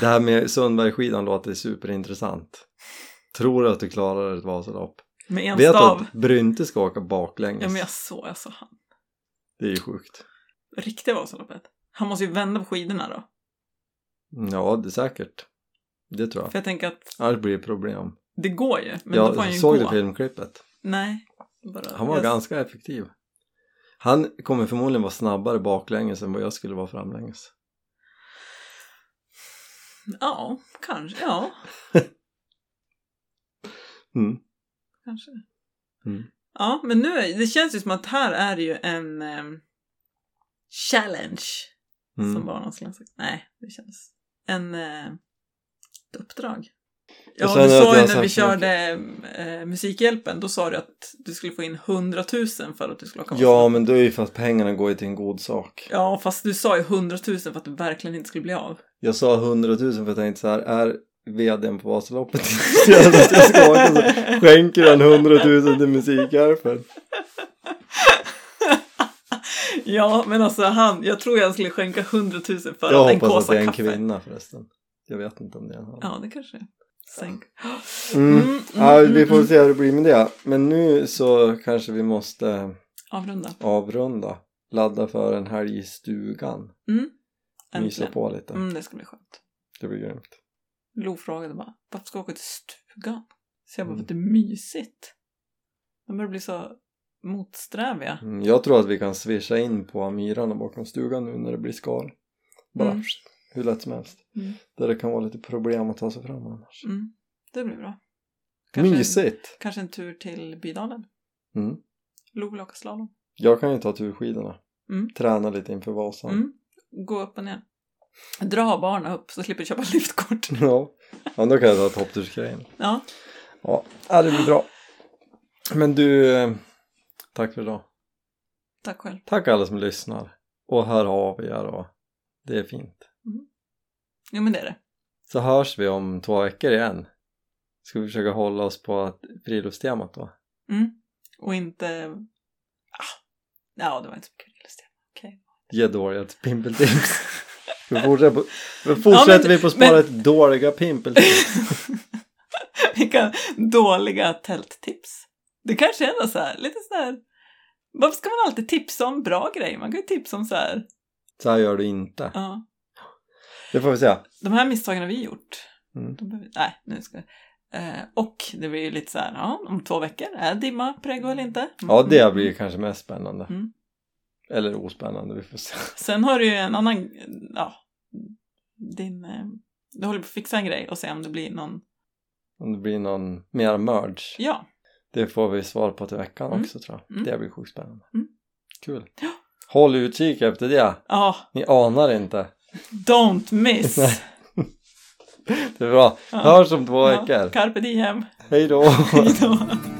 Speaker 1: Det här med Sundbergsskidan låter superintressant. Tror du att du klarar ett Vasalopp?
Speaker 2: Med en
Speaker 1: Vet du
Speaker 2: stav.
Speaker 1: att Brynte ska åka baklänges?
Speaker 2: Ja, men jag såg, jag såg han.
Speaker 1: Det är ju sjukt.
Speaker 2: Riktiga Vasaloppet. Han måste ju vända på skidorna då.
Speaker 1: Ja, det är säkert. Det tror jag.
Speaker 2: För jag tänker att
Speaker 1: Annars blir det problem.
Speaker 2: det går ju. Men då får han
Speaker 1: jag
Speaker 2: ju
Speaker 1: såg
Speaker 2: gå.
Speaker 1: det filmklippet.
Speaker 2: Nej. Bara,
Speaker 1: Han var
Speaker 2: jag-
Speaker 1: ganska effektiv. Han kommer förmodligen vara snabbare baklänges än vad jag skulle vara framlänges.
Speaker 2: Ja, kanske. Ja,
Speaker 1: Mm.
Speaker 2: kanske.
Speaker 1: Mm.
Speaker 2: Ja, men nu är, det känns ju som att här är det ju en em, challenge.
Speaker 1: Mm.
Speaker 2: Som barnen skulle ha sagt. Nej, det känns... En, eh, ett uppdrag. Ja,
Speaker 1: sen är
Speaker 2: du
Speaker 1: det att
Speaker 2: sa
Speaker 1: jag
Speaker 2: ju när
Speaker 1: har
Speaker 2: vi
Speaker 1: sagt-
Speaker 2: körde eh, Musikhjälpen, då sa du att du skulle få in 100 000 för att du skulle åka
Speaker 1: Ja,
Speaker 2: Vasaloppet.
Speaker 1: men då är ju för att pengarna går ju till en god sak.
Speaker 2: Ja, fast du sa ju 100 000 för att du verkligen inte skulle bli av.
Speaker 1: Jag sa 100 000 för att jag tänkte så här, är vdn på Vasaloppet intresserad att jag ska åka så skänker han 100 000 till musikhjälpen.
Speaker 2: Ja, men alltså han, jag tror jag skulle skänka 100 000 för
Speaker 1: Jag
Speaker 2: att
Speaker 1: hoppas att
Speaker 2: en kåsa
Speaker 1: det är en
Speaker 2: kaffe.
Speaker 1: kvinna förresten. Jag vet inte om det är en han.
Speaker 2: Ja, det kanske är. Sänk.
Speaker 1: Mm.
Speaker 2: Mm, mm,
Speaker 1: Ja, vi
Speaker 2: mm,
Speaker 1: får
Speaker 2: mm.
Speaker 1: se hur det blir med det. Men nu så kanske vi måste
Speaker 2: Avrunda.
Speaker 1: avrunda. Ladda för en helg i stugan. Mysa
Speaker 2: Mm. Äntligen.
Speaker 1: på lite.
Speaker 2: Mm, det ska bli skönt.
Speaker 1: Det blir grymt.
Speaker 2: Lo frågade bara, varför ska jag åka till stugan? Så jag bara,
Speaker 1: Mm.
Speaker 2: för att det är mysigt. De börjar bli så motsträviga.
Speaker 1: Mm, Jag tror att vi kan swisha in på Amirarna bakom stugan nu när det blir skal. Bara
Speaker 2: Mm.
Speaker 1: hur lätt som helst.
Speaker 2: Mm.
Speaker 1: Där det kan vara lite problem att ta sig fram annars.
Speaker 2: Mm, det blir bra. Kanske,
Speaker 1: Mysigt!
Speaker 2: kanske en tur till Bydalen.
Speaker 1: Mm.
Speaker 2: Lo vill åka slalom.
Speaker 1: Jag kan ju ta turskidorna.
Speaker 2: Mm.
Speaker 1: Träna lite inför Vasan.
Speaker 2: Mm. Gå upp och ner. Dra barnen upp så slipper du köpa liftkort.
Speaker 1: Ja. ja, då kan jag ta topptursgrejen.
Speaker 2: Ja,
Speaker 1: Ja, ja, det blir bra. Men du, eh, tack för idag.
Speaker 2: tack själv.
Speaker 1: Tack alla som lyssnar och hör av er och det är fint.
Speaker 2: Jo men det är det.
Speaker 1: Så hörs vi om två veckor igen. Ska vi försöka hålla oss på att- friluftstemat då?
Speaker 2: Mm. Och inte... Ah. Ja, det var inte så mycket kul.
Speaker 1: Ge dåliga pimpeltips. Vi fortsätter, på, vi fortsätter vi på att spara
Speaker 2: men-
Speaker 1: ett dåliga pimpeltips.
Speaker 2: Vilka dåliga tälttips. Det kanske är något så här, lite så här... Varför ska man alltid tipsa om bra grejer? Man kan ju tipsa om så här...
Speaker 1: Så här gör du inte.
Speaker 2: Ja.
Speaker 1: Det får vi se.
Speaker 2: De här misstagen har vi gjort.
Speaker 1: Mm.
Speaker 2: De behöver, nej, nu ska jag... Eh, och det blir ju lite så här, ja, om två veckor, är dimma prägo eller inte? Mm.
Speaker 1: Ja, det blir kanske mest spännande.
Speaker 2: Mm.
Speaker 1: Eller ospännande, vi får se.
Speaker 2: Sen har du ju en annan, ja, din... eh, Du håller på att fixa en grej och se om det blir någon,
Speaker 1: Om det blir någon mer merge.
Speaker 2: ja,
Speaker 1: Det får vi svar på till veckan
Speaker 2: Mm.
Speaker 1: också tror jag.
Speaker 2: Mm.
Speaker 1: Det blir sjukt spännande.
Speaker 2: Mm.
Speaker 1: Kul. Håll utkik efter det.
Speaker 2: ja,
Speaker 1: Ni anar inte.
Speaker 2: ah, don't miss!
Speaker 1: Nej. Det är bra.
Speaker 2: Ja.
Speaker 1: Hörs om två veckor.
Speaker 2: Carpe diem!
Speaker 1: Hej då.
Speaker 2: Hej då!